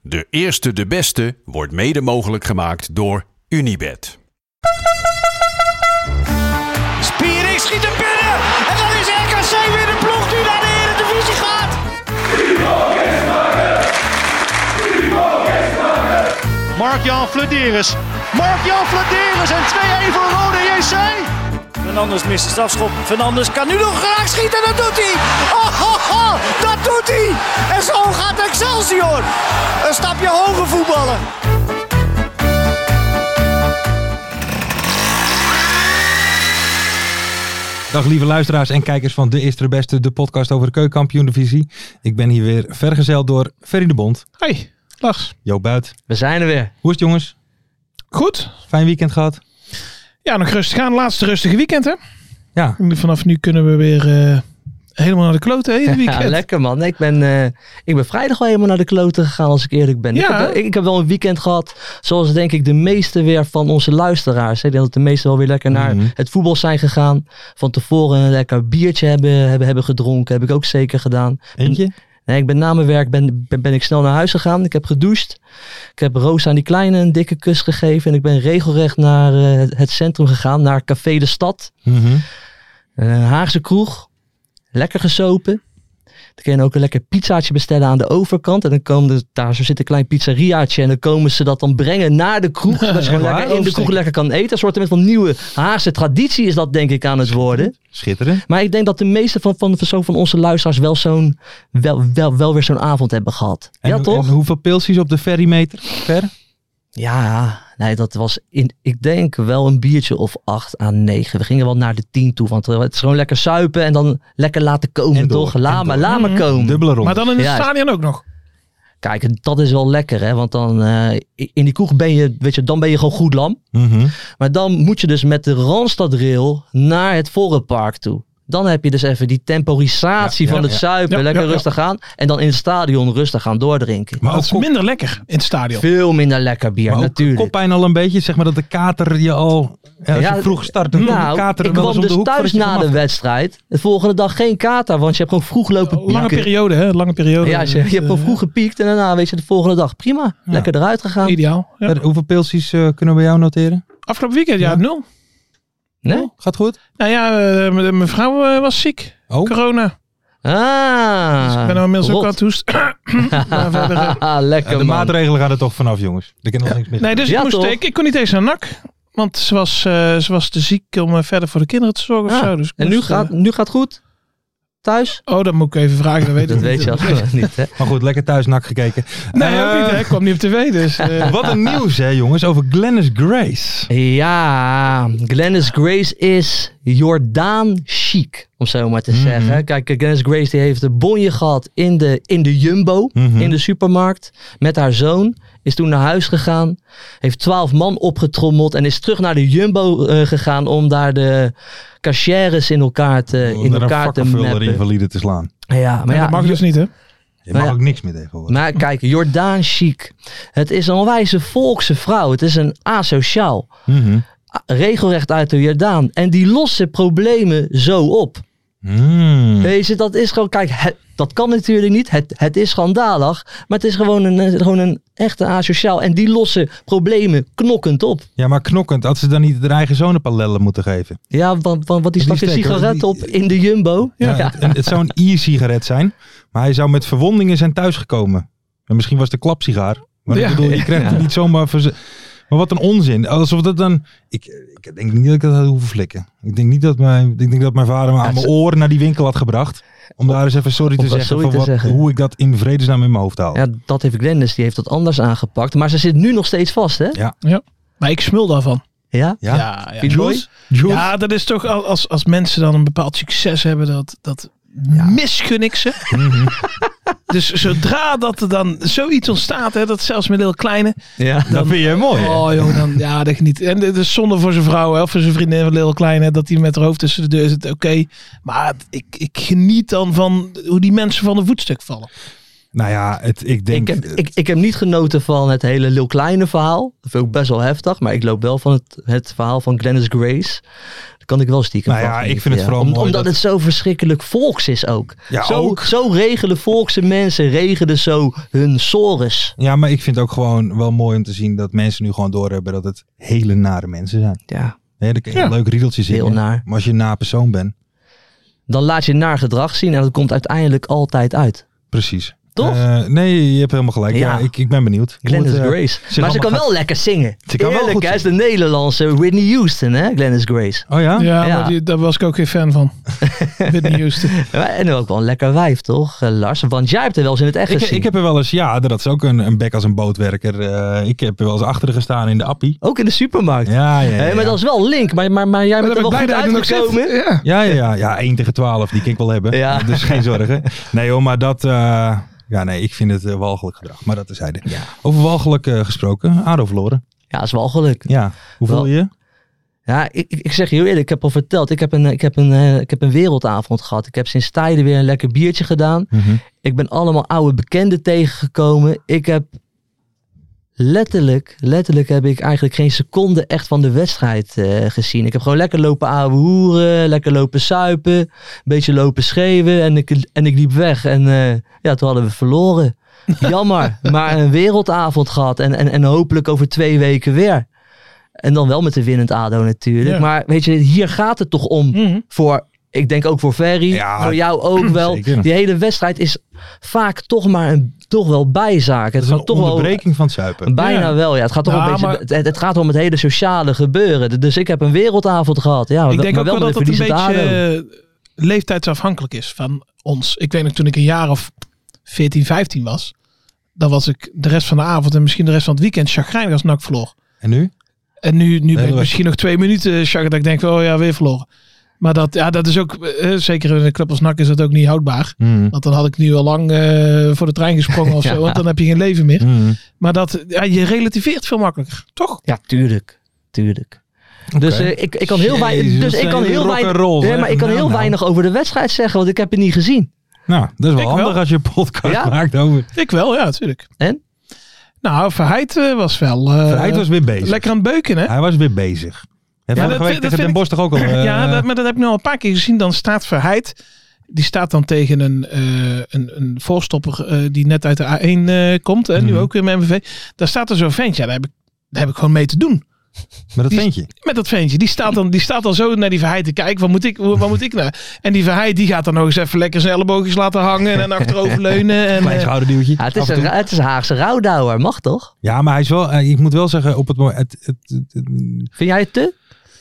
De eerste, de beste wordt mede mogelijk gemaakt door Unibed. Spiering schiet hem binnen. En dan is RKC weer de ploeg die naar de Eredivisie gaat. Mark-Jan Flederis. Mark-Jan Flederis en 2-1 voor Rode JC. Fernandes mist de strafschop. Fernandes kan nu nog graag schieten. Dat doet hij. Oh, oh, oh, dat doet hij. En zo gaat Excelsior. Een stapje hoger voetballen. Dag lieve luisteraars en kijkers van De Eerste de Beste, de podcast over de keukenkampioen-divisie. Ik ben hier weer vergezeld door Ferry de Bond, Hoi, dag. Joop Buit. We zijn er weer. Hoe is het jongens? Goed. Fijn weekend gehad? Ja, nog rustig aan. Laatste rustige weekend, hè? Ja, Vanaf nu kunnen we weer eh, helemaal naar de kloten, hè? dit weekend. Ja, lekker man. Ik ben, eh, ik ben vrijdag wel helemaal naar de kloten gegaan, als ik eerlijk ben. Ik, Ja. heb, wel- ik, ik heb wel een weekend gehad, zoals denk ik de meeste weer van onze luisteraars. Ik denk dat de meesten wel weer lekker naar Mhm. het voetbal zijn gegaan. Van tevoren een lekker biertje hebben, hebben, hebben gedronken. Heb ik ook zeker gedaan. eentje? Nee, ik ben na mijn werk ben, ben, ben ik snel naar huis gegaan. Ik heb gedoucht. Ik heb Roos aan die kleine een dikke kus gegeven. En ik ben regelrecht naar eh, het- het centrum gegaan, naar Café de Stad. Mhm. Een eh, Haagse kroeg. Lekker gesopen. Dan kun je ook een lekker pizzaatje bestellen aan de overkant. En dan komen er, daar zo zit een klein pizzeriaatje. En dan komen ze dat dan brengen naar de kroeg. Zodat je gewoon waar? lekker in de kroeg Oversteken. lekker kan eten. Een soort van nieuwe Haagse traditie is dat denk ik aan het worden. Schitterend. Maar ik denk dat de meeste van, van, van, zo van onze luisteraars wel, zo'n, wel, wel, wel weer zo'n avond hebben gehad. En, ja hoe- toch? en hoeveel pilsjes op de ferrymeter? Ver? Ja, nee, dat was in, ik denk wel een biertje of acht aan negen. We gingen wel naar de tien toe, want eh, het is gewoon lekker suipen en dan lekker laten komen, En door, toch? Laat en maar, door. laat maar Mhm. komen. Dubbele rond. Maar dan in het Ja. stadion ook nog. Kijk, dat is wel lekker, hè? Want dan eh, in die kroeg ben je, weet je, dan ben je gewoon goed lam. Mhm. Maar dan moet je dus met de Randstadrail naar het Vorenpark toe. Dan heb je dus even die temporisatie Ja, van ja, het ja. zuipen. Ja, lekker ja, ja. rustig aan. En dan in het stadion rustig aan doordrinken. Maar dat ook, is kop- minder lekker in het stadion. Veel minder lekker bier, maar ook natuurlijk. koppijn al een beetje, zeg maar dat de kater je al... Ja, als Ja, je vroeg start, dan komt nou, de kater ik wel eens kwam om de dus hoek thuis voordat je na de vanaf- wedstrijd. De volgende dag geen kater, want je hebt gewoon vroeg Oh, lopen Lange pieken. periode, hè? Lange periode. eh, Ja, je, je hebt gewoon vroeg gepiekt en daarna weet je de volgende dag prima. Ja. Lekker eruit gegaan. Ideaal. Ja. Ver, Hoeveel pilsjes eh, kunnen we bij jou noteren? Afgelopen weekend, ja, Ja. nul. Nee? Gaat goed? Nou ja, eh, m- mijn vrouw eh, was ziek. Oh, Corona. Ah. Dus ik nou ben inmiddels ook rot. aan het hoesten. Maar verder, eh, Lekker de man. maatregelen gaan er toch vanaf jongens. Er kan nog niks mis. Nee, dus Ja, ik moest toch? ik, ik kon niet eens naar NAC. Want ze was, eh, ze was te ziek om eh, verder voor de kinderen te zorgen of Ja. zo. Dus ik Ah. En nu moest, eh, gaat, nu gaat goed? Thuis? Oh, dat moet ik even vragen, dat weet Dat ik weet niet. je al niet, hè? Maar goed, lekker thuis nak gekeken. Nee, Eh, ook niet. Hè. Ik kwam niet op tv, dus... eh, Wat een nieuws, hè, jongens, over Glennis Grace. Ja, Glennis Grace is Jordaan chic, om zo maar te Mhm. zeggen. Kijk, Glennis Grace die heeft een bonje gehad in de, in de Jumbo, Mhm. in de supermarkt, met haar zoon. Is toen naar huis gegaan, heeft twaalf man opgetrommeld en is terug naar de Jumbo eh, gegaan om daar de cachères in elkaar te, Om Eh, in er elkaar te Oh, een vakkenvuller mappen. invalide te slaan. Ja, maar ja, ja, dat mag dus niet, hè? Je mag eh, Nou ja. ook niks meer tegenwoordig. Maar kijk, Jordaan chic. Het is een wijze volkse vrouw. Het is een asociaal. Mhm. a- regelrecht uit de Jordaan. En die lossen problemen zo op. Mm. Weet je, dat is gewoon, kijk, het- dat kan natuurlijk niet. Het, het is schandalig. Maar het is gewoon een, eh, gewoon een echte asociaal. En die lossen problemen knokkend op. Ja, maar knokkend. Had ze dan niet haar eigen zoon een paar lellen moeten geven? Ja, want, want, want die Die stak een stekker, sigaret die- op in de Jumbo. Ja. Het, en het zou een e-sigaret zijn, maar hij zou met verwondingen zijn thuisgekomen. En misschien was het een klapsigaar. Maar Ja. ik bedoel, je krijgt het niet zomaar... Voor ze- maar wat een onzin. Alsof dat dan... Ik, ik denk niet dat ik dat had hoeven flikken. Ik denk niet dat mijn, ik denk dat mijn vader me aan mijn ze- oren naar die winkel had gebracht. Om daar eens even sorry Om te daar zeggen, sorry voor te wat, zeggen. hoe ik dat in vredesnaam in mijn hoofd haal. Ja, dat heeft Glennis, die heeft dat anders aangepakt. Maar ze zit nu nog steeds vast, hè? Maar ik smul daarvan. Ja? Ja? ja. Vind je mooi? Jules? Ja, dat is toch al- als, als mensen dan een bepaald succes hebben, dat, dat misgun ik ze. Mhm. dus zodra dat er dan zoiets ontstaat, hè, dat zelfs met heel kleine. Ja. dat vind je mooi. hè? Oh joh, dan ja, dat geniet. En het is zonde voor zijn vrouw hè, of voor zijn vriendin van heel kleine, dat die met haar hoofd tussen de deur zit. Oké, maar het- ik, ik geniet dan van hoe die mensen van een voetstuk vallen. Nou ja, het, ik Ik denk... heb, ik, ik heb niet genoten van het hele Lil Kleine verhaal. Dat vind ik best wel heftig. Maar ik loop wel van het, het verhaal van Glennis Grace. kan ik wel stiekem. Nou ja, van genieten, ik vind het vooral Om- mooi Omdat dat- het zo verschrikkelijk volks is ook. Ja, zo, ook. zo regelen volkse mensen, regelen zo hun sores. Ja, maar ik vind het ook gewoon wel mooi om te zien dat mensen nu gewoon doorhebben dat het hele nare mensen zijn. Ja. Nee, dan kun je een leuk riedeltje zingen. Heel naar. Maar als je een na persoon bent, Dan laat je naar gedrag zien en dat komt uiteindelijk altijd uit. precies. Toch? Eh, nee, je hebt helemaal gelijk. Ja, Ja. ik, ik ben benieuwd. Hoe Glennis het, eh, Grace. zich maar ze allemaal kan gaat- wel lekker zingen. Ze kan wel Eerlijk, goed hij is de Nederlandse Whitney Houston, hè? Glennis Grace. Oh ja? Ja, Ja. maar die, daar was ik ook geen fan van. Whitney Houston. Ja, En ook wel een lekker wijf, toch, eh, Lars? Want jij hebt er wel eens in het echt Ik, gezien. ik heb er wel eens, ja, dat is ook een, een bek als een bootwerker. Eh, ik heb er wel eens achter gestaan in de appie. Ook in de supermarkt. Ja, ja, ja. Hé, maar dat is wel link. Maar, maar, maar jij Maar bent daar er wel ben ik goed blij dat ik nog zit. uitgekomen. Ja. Ja, ja, ja, ja, 1 tegen 12, die kan ik wel hebben. Ja. Dus geen zorgen. Nee joh, maar dat... eh, ja, nee, ik vind het eh, walgelijk gedrag. Maar dat is hij. Ja. Over walgelijk eh, gesproken, ADO verloren. Ja, is wel geluk. Ja, hoe voel Wel- je je? Ja, ik, ik ik zeg je heel eerlijk, ik heb al verteld. Ik heb een, eh, ik heb een, eh, ik heb een wereldavond gehad. Ik heb sinds tijden weer een lekker biertje gedaan. Mhm. Ik ben allemaal oude bekenden tegengekomen. Ik heb letterlijk, letterlijk heb ik eigenlijk geen seconde echt van de wedstrijd eh, gezien. Ik heb gewoon lekker lopen ouwe hoeren, lekker lopen suipen, een beetje lopen schreeuwen en ik, en ik liep weg. En eh, ja, toen hadden we verloren. Jammer, maar een wereldavond gehad en, en, en hopelijk over twee weken weer. En dan wel met de winnend ADO natuurlijk. Ja. Maar weet je, hier gaat het toch om Mhm. voor, ik denk ook voor Ferry, Ja, voor jou ook wel. zeker. Die hele wedstrijd is vaak toch maar een, toch wel bijzaak. Het Dat is gaat een toch wel onderbreking van het zuipen. bijna Ja. wel. Ja, het gaat toch Ja, een beetje. maar- Het, het gaat om het hele sociale gebeuren. Dus ik heb een wereldavond gehad. Ja, Ik denk maar ook wel met dat een het een verliezend beetje ADO. eh, leeftijdsafhankelijk is van ons. Ik weet nog toen ik een jaar of 14, 15 was. Dan was ik de rest van de avond en misschien de rest van het weekend chagrijnig als NAC verloor. En nu? En nu, nu ben ik weg. misschien nog twee minuten chagrijnig dat ik denk, oh ja, weer verloren. Maar dat, ja, dat is ook, eh, zeker in een club als NAC is dat ook niet houdbaar. Mhm. Want dan had ik nu al lang eh, voor de trein gesprongen of Ja. zo. Want dan heb je geen leven meer. Mhm. Maar dat, ja, je relativeert veel makkelijker, toch? Ja, tuurlijk. Tuurlijk. Dus, eh, ik, ik kan heel weinig, Jezus, dus dat ik kan zijn heel rock and weinig, rolls, nee, hè? maar ik kan Nou, heel nou. weinig over de wedstrijd zeggen, want ik heb het niet gezien. Nou, dat is wel Ik handig wel. als je een podcast Ja. maakt over. Ik wel, ja, natuurlijk. En? Nou, Verheid eh, was wel... eh, Hij was weer bezig. Lekker aan het beuken, hè? Hij was weer bezig. En Ja, vorige week dat- dat tegen vind Den ik- Bosch toch ook al. eh, ja, dat, maar dat heb ik nu al een paar keer gezien. Dan staat Verheid. Die staat dan tegen een, eh, een, een voorstopper eh, die net uit de A1 eh, komt. En nu Mhm. ook weer met MVV. Daar staat er zo'n ventje. Ja, daar heb, ik, daar heb ik gewoon mee te doen. maar dat die- vind je. Met dat ventje. Die staat dan, die staat dan zo naar die Verheid te kijken. Wat moet ik, waar, waar moet ik naar? En die Verheid die gaat dan nog eens even lekker zijn elleboogjes laten hangen. En achteroverleunen. En, Klein eh, schouderduwtje. Ja, het, af is en een, toe. het is een Haagse rouwdouwer, mag toch? Ja, maar hij is wel, eh, ik moet wel zeggen, op het moment. Het, het, het- het- Vind jij het te?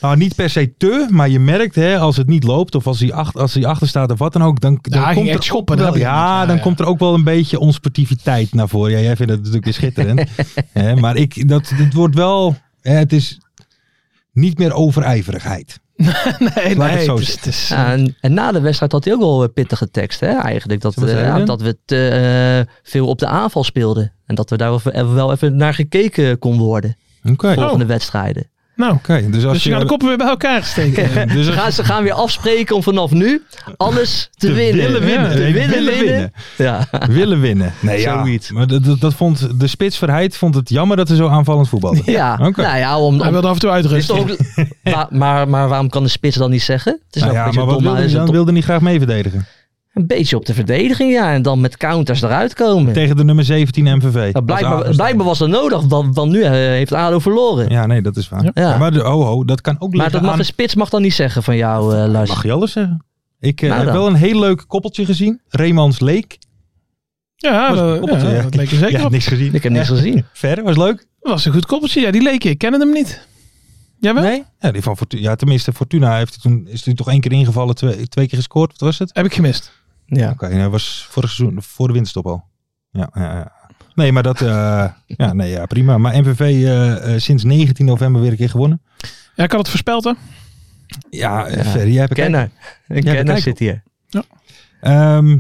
nou, niet per se te, maar je merkt hè, als het niet loopt of als hij, ach, als hij achter staat of wat dan ook, dan, dan hij ging komt er echt schoppen, ook dat wel- heb ik ja, niet. Ja, dan ja. komt er ook wel een beetje onsportiviteit naar voren. Ja, jij vindt het natuurlijk weer schitterend. hè, maar ik, dat, het wordt wel, hè, het is niet meer overijverigheid. nee, Laat nee, ik het zo het is- zeggen. het is- Ja, en, en na de wedstrijd had hij ook wel eh, pittige tekst, hè, eigenlijk. Dat, Zullen we eh, zeggen? ja, dat we te eh, veel op de aanval speelden. En dat we daar wel even, eh, wel even naar gekeken kon worden. Oké, Oh, oké. Volgende wedstrijden. Nou, dus als dus je je, gaat de koppen weer bij elkaar steken. dus Ze als- gaan, ze gaan weer afspreken om vanaf nu alles te, winnen. willen Ja, winnen. Te Nee, willen, willen winnen. winnen. Ja. willen winnen. Nee, ja. Zoiets. Maar dat, dat, dat vond de spitsverheid vond het jammer dat ze zo aanvallend voetbalden. Ja. Oké. Nou ja, om, Hij om- wilde af en toe is uitrusten. toch ook, maar, maar, maar waarom kan de spits dan niet zeggen? Het is Nou wel ja, een beetje maar wat dom, wilde hij hij is een dan? dom- Wilde niet graag mee verdedigen. Een beetje op de verdediging, ja. En dan met counters eruit komen. Tegen de nummer 17 MVV. Ja, Als blijkbaar, Aders. blijkbaar was dat nodig, want, want nu eh, heeft ADO verloren. Ja, nee, dat is waar. Ja. Ja. Ja, maar de, oh, oh, dat kan ook Maar liggen dat mag dus- aan... de spits mag dan niet zeggen van jou, eh, Lars. Mag je alles zeggen? Ik eh, Nou heb dan. wel een heel leuk koppeltje gezien. Remans Leek. Ja, Was een dat, koppeltje, ja, ja. dat leek er zeker Ja, op. niks gezien. Ik heb niks gezien. Verder, was leuk. Dat was een goed koppeltje. Ja, die leek ik. Ik kende hem niet. Jij wel? Nee? Ja, die van Fortuna, ja, tenminste, Fortuna heeft toen, is toen toch één keer ingevallen, twee, twee keer gescoord. Wat was het? Heb ik gemist. Ja. Oké, nou, was vorig seizoen, voor de winterstop al. Ja, ja, ja. Nee, maar dat, eh, ja, nee, ja, prima. Maar MVV eh, eh, sinds 19 november weer een keer gewonnen. Ja, ik had het voorspeld hè. Ja, eh, Ferry, jij hebt een Kenner. Een Ja, kenner bekijk. zit hier. Ehm,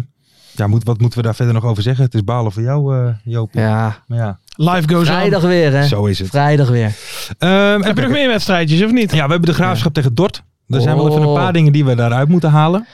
ja, moet, wat moeten we daar verder nog over zeggen? Het is balen voor jou, eh Joopie. Ja. Maar ja, Live goes Vrijdag weer, hè? zo is het. Vrijdag weer. Ehm, on. Heb je nog even- meer wedstrijdjes of niet? ja, we hebben de graafschap tegen Dort. Er zijn wel even een Oh. paar dingen die we daaruit moeten halen.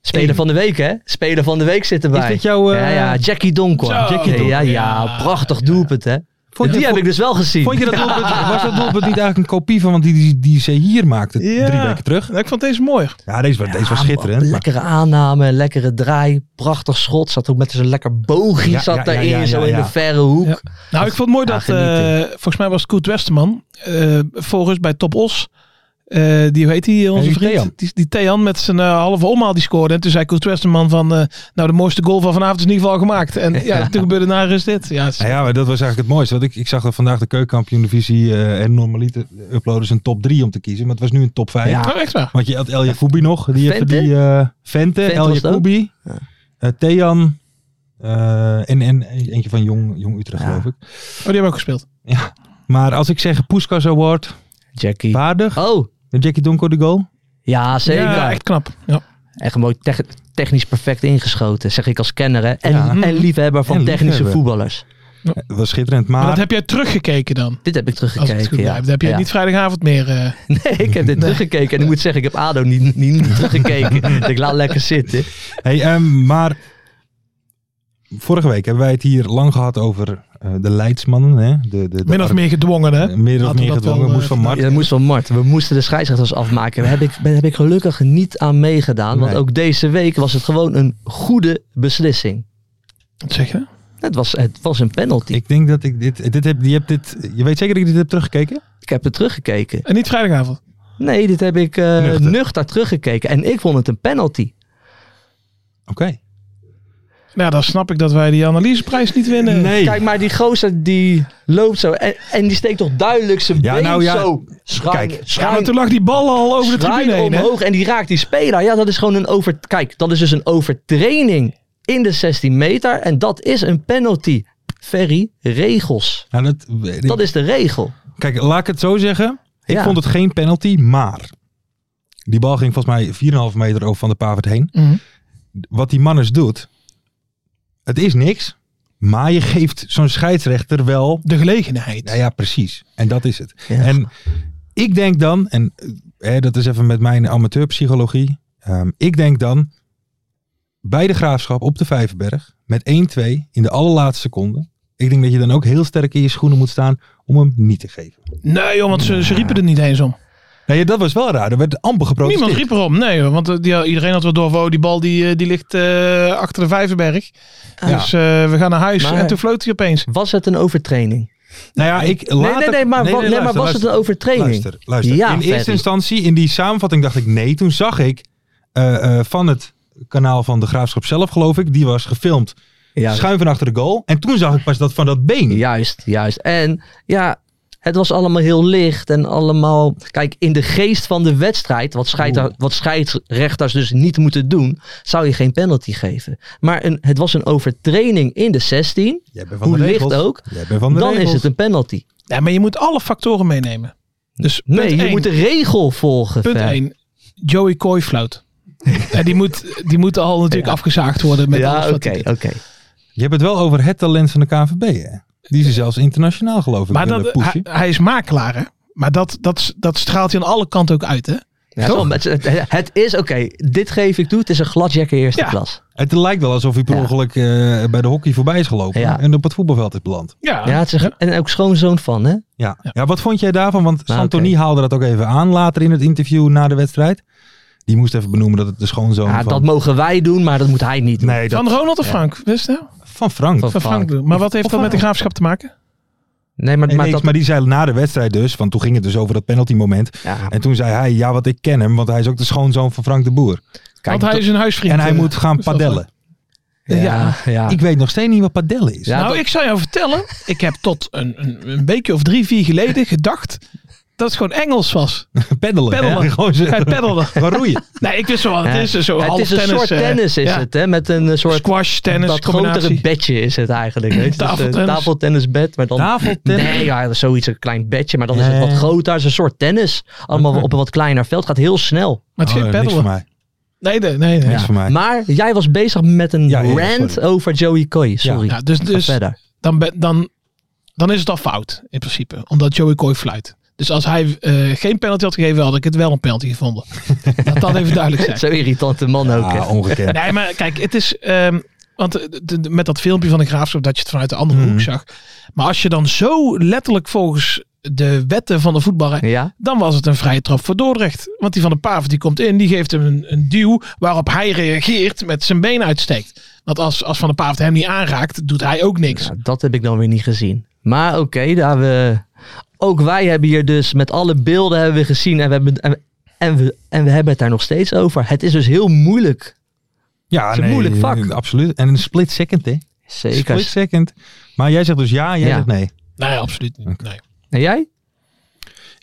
Speler van de week, hè? Speler van de week zit erbij. Is dit jouw... eh, Ja, ja. Jackie Donker. Zo. Jackie Donker. Ja, ja. Ja, Prachtig doelpunt, hè? Die Vond je, heb ik vond, dus wel gezien. vond je dat doelpunt, was dat doelpunt niet eigenlijk een kopie van wat die, die, die ze hier maakte Ja. drie weken terug? Nou, ik vond deze mooi. Ja, deze, was- deze was Ja, schitterend. man, maar- Lekkere aanname, lekkere draai, prachtig schot. Zat ook met zo'n lekker boogje Ja, zat ja, ja, daarin, ja, ja, zo in ja. de verre hoek. Ja. Nou, ik vond het mooi Ja, dat, genieten. eh, volgens mij was het Koet Westerman, eh volgens bij Top Os, eh, die, hoe heet die, eh, onze Ja, die vriend? Thean. Die, die Thean met zijn eh, halve omhaal die scoorde. En toen zei Koet Westerman van, eh, nou de mooiste goal van vanavond is in ieder geval gemaakt. En ja, toen gebeurde na rust dit. Ja, het is- Nou ja, maar dat was eigenlijk het mooiste. Want ik, ik zag dat vandaag de keukenkampioen-divisie eh, en normaliter uploaden ze een top 3 om te kiezen. Maar het was nu een top 5. Ja. Oh, echt waar. Want je had El Jacoubi nog. Die heeft Vente? die eh, Vente, Vente El was het Jacoubi, Ja. eh, Thean eh, en, en eentje van Jong, Jong Utrecht Ja. geloof ik. Oh, die hebben ook gespeeld. Maar als ik zeg Puskas Award, Jackie. waardig. Oh, De Jackie Donko de goal. ja zeker. Ja, echt knap. Ja. Echt mooi tech- technisch perfect ingeschoten, zeg ik als kenner. Hè. En, Ja. en liefhebber van En technische liefhebber. voetballers. Eh, Dat was schitterend. Maar, Maar dat heb jij teruggekeken dan? Dit heb ik Als het goed teruggekeken. blijft. Ja. Dan heb jij Ja. niet vrijdagavond meer. eh. Nee, ik heb dit teruggekeken. En ik moet zeggen, ik heb ADO niet, niet, niet teruggekeken. ik laat lekker zitten. hey, ehm, maar vorige week hebben wij het hier lang gehad over eh, de Leidsmannen. Hè? De, de, de min of meer gedwongen, hè? Eh, Meer of Laten we meer dat gedwongen. wel, Moest eh, van Mart. Ja, dat moest wel Mart. We moesten de scheidsrechters afmaken. Daar heb ik, ben- heb ik gelukkig niet aan meegedaan. Want Nee. ook deze week was het gewoon een goede beslissing. Wat zeg je? Het was, het was een penalty. Ik, Ik denk dat ik dit, dit heb, je hebt dit, je weet zeker dat ik dit heb teruggekeken? heb het teruggekeken. En niet vrijdagavond. Nee, dit heb ik eh, Nuchter. nuchter. teruggekeken. En ik vond het een penalty. Oké. Nou, dan snap ik dat wij die analyseprijs niet winnen. Kijk, maar die gozer die loopt zo. En, en die steekt toch duidelijk zijn Ja, been nou ja, zo schuin, kijk. Ja, maar schuin, toen lag die bal al over de schuin tribune heen. hè? omhoog. En die raakt die speler. Ja, dat is gewoon een over... Kijk, dat is dus een overtraining in de 16 meter. En dat is een penalty. Ferry, regels. Nou, dat, Dat is de regel. Kijk, laat ik het zo zeggen. Ik Ja. vond het geen penalty, maar die bal ging volgens mij 4,5 meter over van de pavert heen. Mhm. Wat die manners doet, het is niks, maar je geeft zo'n scheidsrechter wel. De gelegenheid. Nou ja, precies. En dat is het. Ja. En ik denk dan, en eh, dat is even met mijn amateurpsychologie. ehm, ik denk dan bij de graafschap op de Vijverberg met 1-2 in de allerlaatste seconde. Ik denk dat je dan ook heel sterk in je schoenen moet staan om hem niet te geven. Nee, joh, want ze, ze riepen er niet eens om. Nou ja, dat was wel raar. Er werd amper geprotesteerd. Niemand riep erom. Nee, joh, want eh, die, iedereen had wel door van, oh, die bal die, eh, die ligt eh, achter de Vijverberg. Ja. Dus eh, we gaan naar huis. Ah. Maar- En toen floot hij opeens. Was het een overtraining? Nou ja, ik Nee, later- nee, nee, maar, wa- nee, maar luister, was het luister. een overtraining? Luister, luister. Ja, in eerste Ferry. instantie, in die samenvatting dacht ik nee. Toen zag ik eh, eh, van het kanaal van de Graafschap zelf, geloof ik, die was gefilmd Ja, schuin van achter de goal. En toen zag ik pas dat van dat been. Juist, juist. En ja, het was allemaal heel licht en allemaal... Kijk, in de geest van de wedstrijd, wat, scheida- wat scheidsrechters dus niet moeten doen, zou je geen penalty geven. Maar een, het was een overtraining in de 16, Jij bent hoe de licht regels. ook, Jij bent van de dan regels. is het een penalty. Ja, maar je moet alle factoren meenemen. Dus punt Nee, je één. moet de regel volgen. Punt Fer. 1. Joey Kooi flout. en die moet, die moet al natuurlijk afgezaagd worden. Met alles Ja, wat oké, hij oké. doet. Je hebt het wel over het talent van de KNVB, hè? Die ze zelfs internationaal, geloof ik, Maar willen dat, hij, pushen. hij is makelaar, hè? Maar dat, dat, dat straalt hij aan alle kanten ook uit, hè? Ja, het is wel- het, het- het is oké, dit geef ik toe, het is een gladjacker eerste Ja. klas. Het lijkt wel alsof hij per Ja. ongeluk eh, bij de hockey voorbij is gelopen Ja. en op het voetbalveld is beland. Ja, Ja, het is een- en ook schoonzoon van, hè? Ja. ja, wat vond jij daarvan? Want Nou, Santoni oké. haalde dat ook even aan later in het interview na de wedstrijd. Die moest even benoemen dat het de schoonzoon Ja, van... dat mogen wij doen, maar dat moet hij niet doen. nee, dat... Van Ronald of Frank? Wist je? van Frank. Van- Van Frank. doen. Maar wat heeft Of dat met de Frank. graafschap te maken? Nee, maar, Nee, maar niks, dat... maar die zei na de wedstrijd dus, want toen ging het dus over dat penaltymoment. ja, En toen zei hij, ja, want ik ken hem, want hij is ook de schoonzoon van Frank de Boer. kijk, Want hij is een huisvriend. en hij eh, moet gaan is dat padellen. ja, ja, Ik weet nog steeds niet wat padellen is. Ja, nou, dat- ik zou jou vertellen. Ik heb tot een, een, een beetje of drie, vier geleden gedacht dat het gewoon Engels was. Paddelen. Paddelen. hè? Gewoon zo- Hij peddelde. Waar roeien? Nee, ik wist wel wat het Ja. is. Zo Ja, half het is een tennis, soort eh, tennis, is ja. het, hè? Met een eh, soort Squash, tennis, dat grotere combinatie. bedje is het eigenlijk. Weet je? Dat, eh, Tafeltennis. Tafeltennisbed, maar dan... Tafeltennis. Nee, ja, dat is zoiets, een klein bedje, maar dan is het wat Nee. groter. Het is een soort tennis. Allemaal op een wat kleiner veld. Gaat heel snel. Maar het is Oh, geen niks voor peddelen. mij. Nee, nee, nee. nee. Niks voor mij. Maar jij was bezig met een Ja, ja, ja, rant sorry. over Joey Coy. Sorry. Ja, dus, Ga dus verder. dan, ben- dan, dan is het al fout in principe. Omdat Joey Coy fluit. Dus als hij eh, geen penalty had gegeven, had ik het wel een penalty gevonden. Laat dat even duidelijk zijn. Zo irritante man ook. Ah, hè. ongekend. Nee, maar kijk, het is. ehm, Want eh, de- de- met dat filmpje van de graafschap dat je het vanuit de andere Mhm. hoek zag. Maar als je dan zo letterlijk volgens de wetten van de voetballer Ja, dan was het een vrije trap voor Dordrecht. Want die van de Paaf die komt in, die geeft hem een, een duw waarop hij reageert met zijn been uitsteekt. Want als, als Van de Paaf hem niet aanraakt, doet hij ook niks. nou, dat heb ik dan weer niet gezien. Maar oké, daar we... Ook wij hebben hier dus met alle beelden hebben we gezien en we hebben, en, en we, en we hebben het daar nog steeds over. Het is dus heel moeilijk. Ja, is een moeilijk vak. Absoluut. En een split second, hè? Zeker. Split second. Maar jij zegt dus ja, jij Ja. zegt nee. Nee, absoluut niet. Nee. En jij?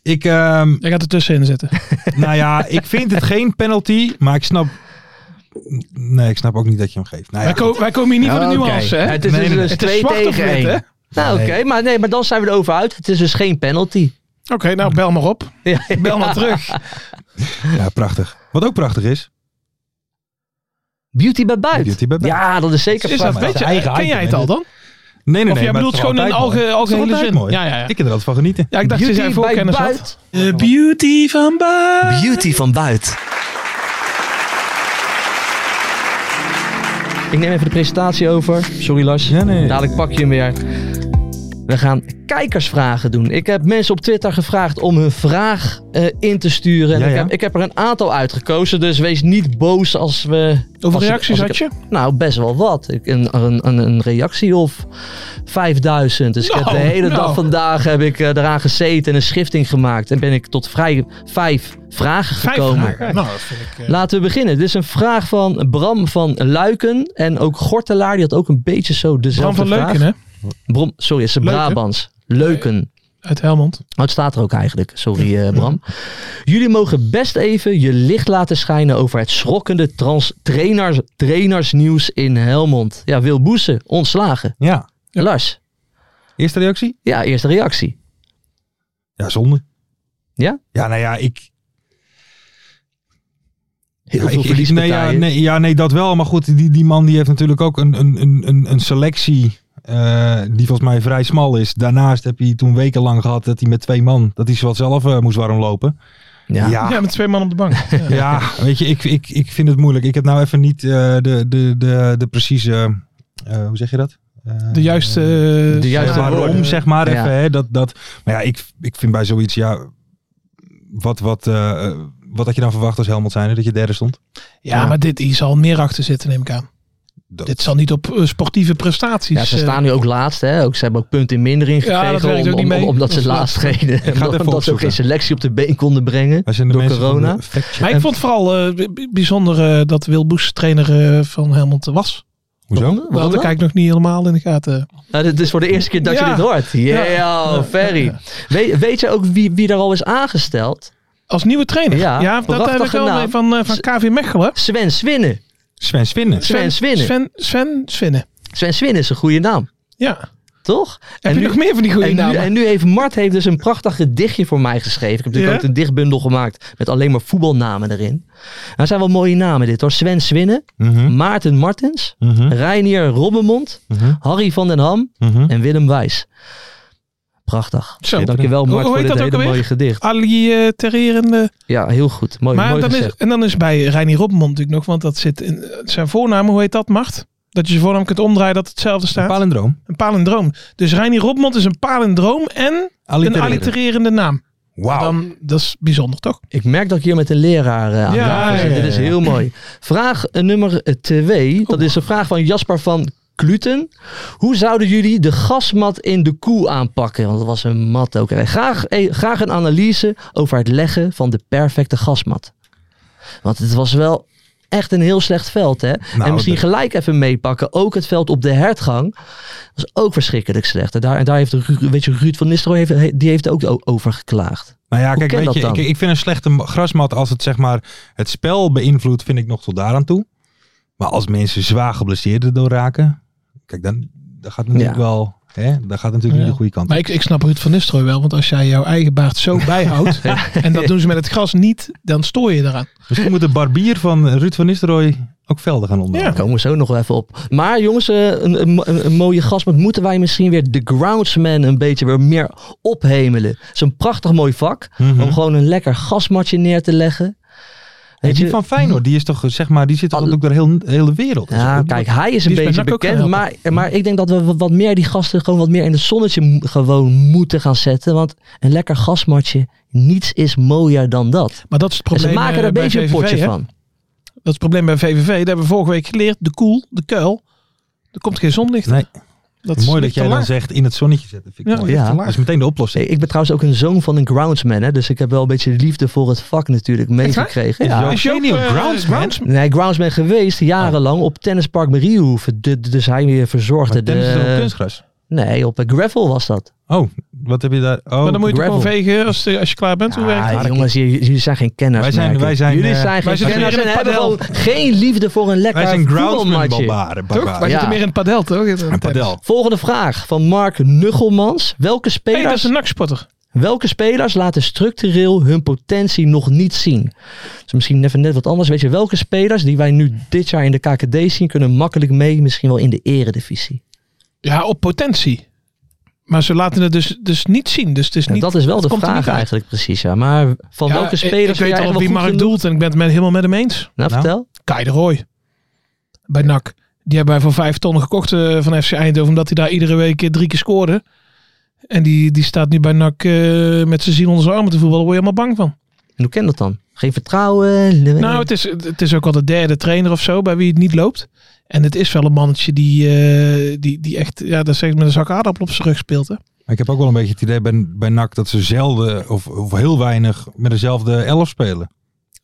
Ik, ehm, Hij gaat er tussenin zitten. nou ja, ik vind het geen penalty, maar ik snap... Nee, ik snap ook niet dat je hem geeft. Nou ja, wij, ko- wij komen hier niet voor de Oké. nuance, hè? Het is Nee, dus nee, nee. dus Het is twee zwart of tegen wit, één. hè? Nou oké, Nee. maar, nee, maar dan zijn we erover uit. Het is dus geen penalty. Oké, nou bel maar op. Ja. Bel maar terug. ja, prachtig. Wat ook prachtig is, Beauty bij buiten. Beauty by Buiten. Ja, dat is zeker Is waar. dat, weet zijn je, eigen ken jij item, het al dan? Nee, nee, Of nee. jij maar het bedoelt is gewoon toch een altijd mooi. alge- Het is toch algehele altijd zin? mooi. Ja, ja, ja. Ik heb er altijd van genieten. Ja, ik dacht, ze zijn Beauty bij voorkennis buiten. had. De beauty van buiten. Beauty van buiten. Ik neem even de presentatie over. Sorry Lars. Ja, nee. Dadelijk pak je hem weer. We gaan kijkersvragen doen. Ik heb mensen op Twitter gevraagd om hun vraag eh, in te sturen. En Ja, ik, ja. Heb, ik heb er een aantal uitgekozen, dus wees niet boos als we... Hoeveel als ik- reacties als ik- had je? Nou, best wel wat. Ik, een, een, een, een reactie of 5000. Dus ik heb Nou, de hele nou. dag vandaag heb ik eh, eraan gezeten en een schifting gemaakt. En ben ik tot vrij, vijf vragen Vijf gekomen. vragen. Nou, dat vind ik... eh, Laten we beginnen. Dit is een vraag van Bram van Luiken. En ook Gortelaar, die had ook een beetje zo Bram dezelfde van vraag. Leuken, hè? Brom, sorry, het is Leuken? Brabants. Leuken. Uit Helmond. Oh, het staat er ook eigenlijk. Sorry, eh, Bram. Jullie mogen best even je licht laten schijnen over het schrokkende trans trainers, trainersnieuws in Helmond. Ja, Wil Boesen, ontslagen. Ja. Lars, Eerste reactie? ja, eerste reactie. Ja, zonde. Ja? Ja, nou ja, ik... Heel Ja, veel ik- ik- nee, verliespartijen. ja, nee, ja, nee, dat wel. Maar goed, die, die man die heeft natuurlijk ook een, een, een- een, een selectie eh, die volgens mij vrij smal is. Daarnaast heb hij toen wekenlang gehad dat hij met twee man, dat hij zowat zelf eh, moest warm lopen. Ja. ja. Ja, met twee man op de Ah. bank. Ja. Ja, weet je, ik, ik, ik vind het moeilijk. Ik heb nou even niet eh, de, de, de, de precieze, eh, hoe zeg je dat? Eh, De juiste... eh, De juiste ja, Dus, eh, waarom, woorden. zeg maar. Ja. Even, hè, dat, dat, maar ja, ik, ik vind bij zoiets, ja, wat, wat, eh, wat had je dan verwacht als Helmond zijn, dat je derde stond? Ja, maar dit hier zal meer achter zitten, neem ik aan. Dat- Dit zal niet op eh, sportieve prestaties. Ja, ze eh, staan nu ook laatst. Hè? Ook, ze hebben ook punten in mindering Ja, dat gekregen werkt om- ook niet om- mee. omdat ze Dat is laatst gingen. ga het even Omdat ze ook geen opzoeken. selectie op de been konden brengen. Als je de Door mensen van corona? de fact check- Maar ik vond het vooral eh, b- b- bijzonder eh, dat Wil Boes trainer eh, van Helmond was. Hoezo? Waarom Want ik dan? kijk nog niet helemaal in de gaten. Nou, dit is voor de eerste keer dat Ja. je dit hoort. Yeah, Ferry. Weet, weet je ook wie, wie er al is aangesteld? Als nieuwe trainer. Ja, dat heb ik prachtige wel naam. mee van, eh, van KV Mechelen. Sven Swinnen. Sven Swinnen. Sven Swinnen. Sven, Sven Swinnen. Sven Swinnen is een goede naam, Ja. toch? Heb je nog meer van die goede en, nu, namen? en nu heeft Mart heeft dus een prachtig gedichtje voor mij geschreven. Ik heb natuurlijk Ja? ook een dichtbundel gemaakt met alleen maar voetbalnamen erin. Nou, zijn wel mooie namen dit hoor. Sven Swinnen, Hm? Mhm, Maarten Martens, mhm, Reinier Robbenmond, mhm, Harry van den Ham mhm. en Willem Wijs. Prachtig. Hm? Zo. Dankjewel Hoe- Mart hoe voor heet dit dat hele ook alweer? mooie gedicht. Ali eh Tererende. Ja, heel goed. Mooi, maar Oh, mooi dan gezegd. is, en dan is bij Reinier Robbenmond natuurlijk nog, want dat zit in eh, zijn voornaam. Hoe heet dat, Mart? Dat je zijn voornaam kunt omdraaien dat hetzelfde staat. Palindroom. Een palindroom. Dus Reinier Robbenmond is een palindroom en een Allitereren. allitererende naam. Wauw. Dan, dat is bijzonder, toch? Ik merk dat ik hier met een leraar eh, aan Ja, tafel zit. ja, Dit is ja, ja. heel mooi. Vraag eh, nummer 2. Dat is een vraag van Jasper van Kluten. Hoe zouden jullie de gasmat in de koe aanpakken? Want dat was een mat ook. En Graag, eh, graag een analyse over het leggen van de perfecte gasmat. Want het was wel echt een heel slecht veld. Hè? en misschien dat- gelijk even meepakken. Ook het veld op de hertgang. was ook verschrikkelijk slecht. En daar, en daar heeft Ru- weet je, Ruud van Nistelrooy heeft, die heeft er ook o- over geklaagd. Nou ja, Hoe kijk, kan weet dat je, dan? ik, ik vind een slechte ma- grasmat als het zeg maar het spel beïnvloedt, vind ik nog tot daaraan toe. Maar als mensen zwaar geblesseerd erdoor raken, kijk, dan, dan gaat het natuurlijk Ja. wel, hè, dan gaat het natuurlijk Ja. niet de goede kant Maar ik, ik snap Ruud van Nistelrooy wel, want als jij jouw eigen baard zo bijhoudt, en dat doen ze met het gras niet, dan stoor je eraan. Misschien moet de barbier van Ruud van Nistelrooy ook velden gaan onderhouden. Daar komen we zo nog wel even op. Maar jongens, eh, een, een, een- een mooie gasmat. Moeten wij misschien weer de groundsman een beetje weer meer ophemelen? Het is een prachtig mooi vak. Mhm. Om gewoon een lekker gasmatje neer te leggen. Weet die je- van Feyenoord, die, is toch, zeg maar, die zit toch Al- ook door de hele, hele wereld. en zo. Ja, Die kijk, wordt- hij is een die is bij beetje NAC ook Mhm. bekend. gaan Maar, maar ik denk dat we wat, wat meer die gasten gewoon wat meer in het zonnetje m- gewoon moeten gaan zetten. Want een lekker gasmatje, niets is mooier dan dat. Maar dat is het En probleem. ze maken er eh, een bij beetje een VVV, potje hè? van. Dat is het probleem bij VVV. Dat hebben we vorige week geleerd. De koel, de kuil. Er komt geen zonlicht. Nee. Dat is mooi dat ligt jij te dan laag. zegt in het zonnetje zetten. Vind ik Ja, mooi. ligt te Dat is meteen de oplossing. Ik ik ben trouwens ook een zoon van een groundsman. Hè, dus ik heb wel een beetje liefde voor het vak natuurlijk meegekregen. Ja. Joop Is Joop, Genius, eh, groundsman? groundsman? Nee, groundsman geweest jarenlang op Tennispark Mariehoeven. De- de- Dus hij weer verzorgde Oh. Maar tennis is toch op de... kunstgras? Nee, op eh, gravel was dat. Oh, wat heb je daar? Oh, Maar dan moet je toch gravel. gewoon vegen als, eh, als je klaar bent. Hoe werkt Ah, het? jongens, jullie jullie zijn geen kenners. Wij zijn- merk ik. wij zijn, jullie eh, zijn wij geen zitten kenners meer en in het hebben padel. gewoon geen liefde voor een Wij zijn lekker groundsman voetbalmatje. barbaren. Toch? Wij barbaren. Ja. zitten meer in het padel, toch? Een padel. Volgende vraag van Mark Nuggelmans. Welke Hey, dat spelers, is een nakspotter. welke spelers laten structureel hun potentie nog niet zien? Dus misschien even net wat anders. Weet je, welke spelers die wij nu dit jaar in de KKD zien, kunnen makkelijk mee, misschien wel in de eredivisie? Ja, op potentie. Maar ze laten het dus, dus niet zien. Dus het is Nou, niet, dat is wel het de komt er vraag niet uit. eigenlijk precies, ja. Maar van Ja, welke ik- spelers Ik, vind jij weet al wel wie goed Mark genoeg? doelt en ik ben het met, helemaal met hem eens. Nou, Nou. vertel. Kai de Roy. Bij NAC. Die hebben wij voor vijf ton gekocht eh, van FC Eindhoven. Omdat hij daar iedere week eh, drie keer scoorde. En die, die staat nu bij NAC eh, met zijn ziel onder zijn armen te voetballen. Daar word je helemaal bang van. En hoe kent dat dan? Geen vertrouwen? eh, le- Nou, het is, het is ook al de derde trainer of zo bij wie het niet loopt. En het is wel een mannetje die, eh, die, die echt ja, dat zegt, met een zak aardappel op zijn rug speelt. Hè? Maar ik heb ook wel een beetje het idee bij, bij NAC dat ze zelden of, of heel weinig met dezelfde elf spelen.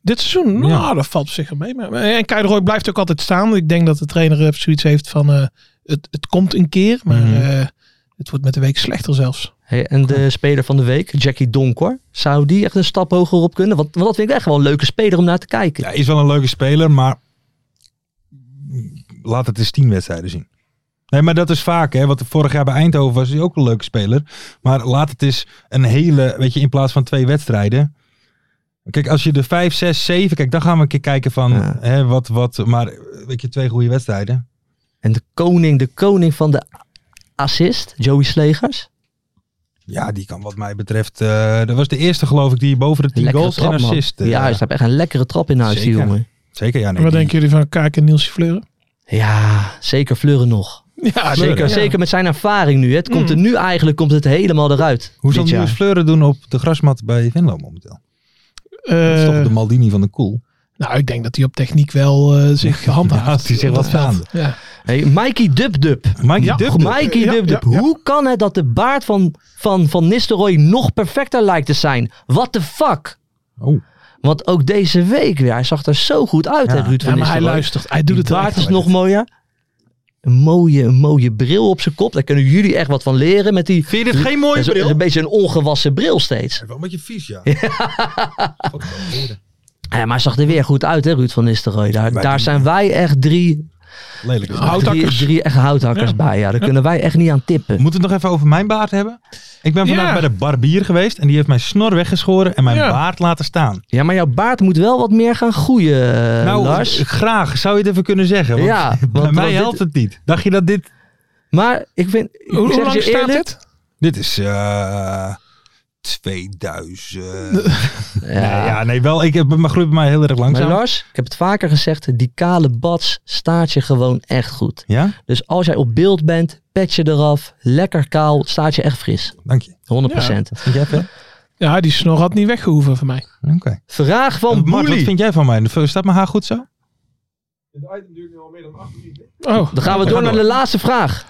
Dit seizoen, nou, Ja. dat valt op zich wel mee. Maar, en Kai de Roy blijft ook altijd staan. Ik denk dat de trainer eh, zoiets heeft van eh, het, het komt een keer. Maar Mhm. eh, het wordt met de week slechter zelfs. Hey, en de speler van de week, Jackie Donkor. Zou die echt een stap hoger op kunnen? Want, want dat vind ik echt wel een leuke speler om naar te kijken. Ja, is wel een leuke speler, maar laat het eens tien wedstrijden zien. Nee, maar dat is vaak, hè. Wat vorig jaar bij Eindhoven was hij ook een leuke speler. Maar laat het eens een hele, weet je, in plaats van twee wedstrijden. Kijk, als je de vijf, zes, zeven, kijk, dan gaan we een keer kijken van, Ja. hè, wat, wat, maar weet je, twee goede wedstrijden. En de koning, de koning van de assist, Joey Slegers. Ja, die kan wat mij betreft, eh, dat was de eerste geloof ik die boven de tien Lekkere goals en trap, man. assist. eh, ja, hij heeft echt een lekkere trap in huis, die Zeker. jongen. Zeker, ja. Nee, En wat die- denken jullie van Kaak en Nielsje Fleuren? Ja, zeker Fleuren nog. Ja, Mm. Zeker, zeker met zijn ervaring nu. hè. Het komt er nu eigenlijk komt het helemaal eruit. Hoe dit zal Niels jaar. Fleuren doen op de grasmat bij Venlo momenteel? Dat is toch de Maldini van de Koel. eh, nou, ik denk dat hij op techniek wel eh, zich handhaaft. die zich op wat dat veld. gaande. Ja. Hey, Mikey Dub Dub. Mike Ja, Dub- Och, Mikey Ja, Dub Dub. ja, ja. Hoe kan het dat de baard van, van, van Nistelrooy nog perfecter lijkt te zijn? What the fuck? Oh. Want ook deze week weer, hij zag er zo goed uit, Ja. hè, Ruud Ja, van maar hij Nistelrooy. luistert. Hij doet Die het baard echt. is nog mooier. Een mooie, een mooie bril op zijn kop. Daar kunnen jullie echt wat van leren met die... Vind je dit geen mooie Dat is bril? Een beetje een ongewassen bril steeds. Wel een beetje vies, ja. Ja, maar hij zag er weer goed uit, hè, Ruud van Nistelrooy. Daar, Wij daar doen- zijn wij echt drie, Lelijk. is dat. drie, Houthakkers. drie echt houthakkers bij. Ja, daar kunnen wij echt niet aan tippen. Moeten we het nog even over mijn baard hebben? Ik ben vandaag Ja. bij de barbier geweest en die heeft mijn snor weggeschoren en mijn Ja. baard laten staan. Ja, maar jouw baard moet wel wat meer gaan groeien, eh, nou, Lars. eh, graag. Zou je het even kunnen zeggen? Want Ja, bij want- mij want helpt dit- het niet. Dacht je dat dit... Maar ik vind... ik Hoe, hoe zeg lang je staat eerlijk, dit? Dit is... eh 2000... Ja. Nee, ja, nee, wel. Ik, heb- mijn groeit bij mij heel erg Maar langzaam. Lars, ik heb het vaker gezegd, die kale bats staat je gewoon echt goed. Ja, Dus als jij op beeld bent, pet je eraf, lekker kaal, staat je echt fris. 100%. dank je. Vind jij ver? Ja, die snor had niet weggehoeven van mij. Oké. Vraag van Eh, Mark, wat Boelie. vind jij van mij? Staat mijn haar goed zo? Oh, Dan gaan we door naar de laatste vraag.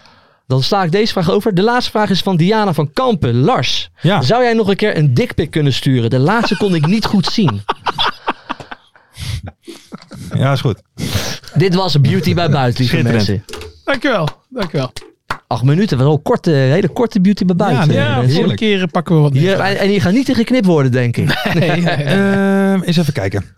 Dan sla ik deze vraag over. De laatste vraag is van Diana van Kampen. Lars, Ja. zou jij nog een keer een dikpik kunnen sturen? De laatste kon ik niet goed zien. Ja, is goed. Dit was Beauty bij Buiten, lieve Schitterend. mensen. Dankjewel. Dankjewel. Acht minuten, wel een korte, hele korte Beauty bij Buiten. nee, eh, ja, Ja, mensen. volgende keer pakken we wat meer. Hier, en, eh, en hier gaat niet in geknipt worden, denk ik. Nee, nee, nee. Ehm, eens even kijken.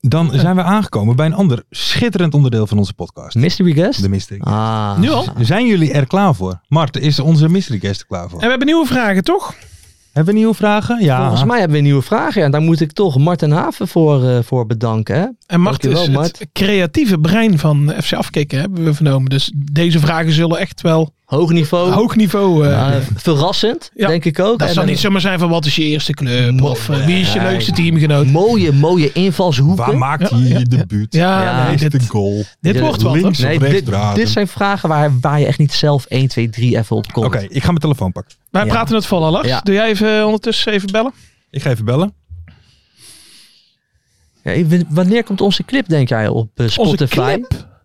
Dan zijn we aangekomen bij een ander schitterend onderdeel van onze podcast. Mystery guest? De mystery. Ah. Nu al? Zijn jullie er klaar voor? Mart, is onze mystery guest er klaar voor? Eh, En we hebben nieuwe vragen, toch? Hebben Hebben we nieuwe vragen? Ja. Volgens mij hebben we een nieuwe vraag. Ja, en daar moet ik toch Marten Haven voor, eh, voor bedanken. Hè? En Mart Dankjewel, is het Mart. creatieve brein van FC Afkikken, hebben we vernomen. Dus deze vragen zullen echt wel Hoog niveau. hoog niveau... eh, Oh. Ja, verrassend, Ja, denk ik ook. dat En zal dan- niet zomaar zijn van wat is je eerste club of eh, wie is je Nee. leukste teamgenoot. Mooie, mooie invalshoeken. Waar maakt hij Ja, ja, je debuut? Ja, Ja, nee, Is de dit, goal. dit Ja, wordt wat. hoor. links. Nee, Of dit, rechtsdraad. dit zijn vragen waar, waar je echt niet zelf 1, 2, 3 even op komt. Oké, ik ga mijn telefoon pakken. Wij Ja. praten het vol, Lars. Ja. Doe jij even eh, ondertussen even bellen? Ik ga even bellen. Ja, ik weet- wanneer komt onze clip, denk jij, op eh, Spotify?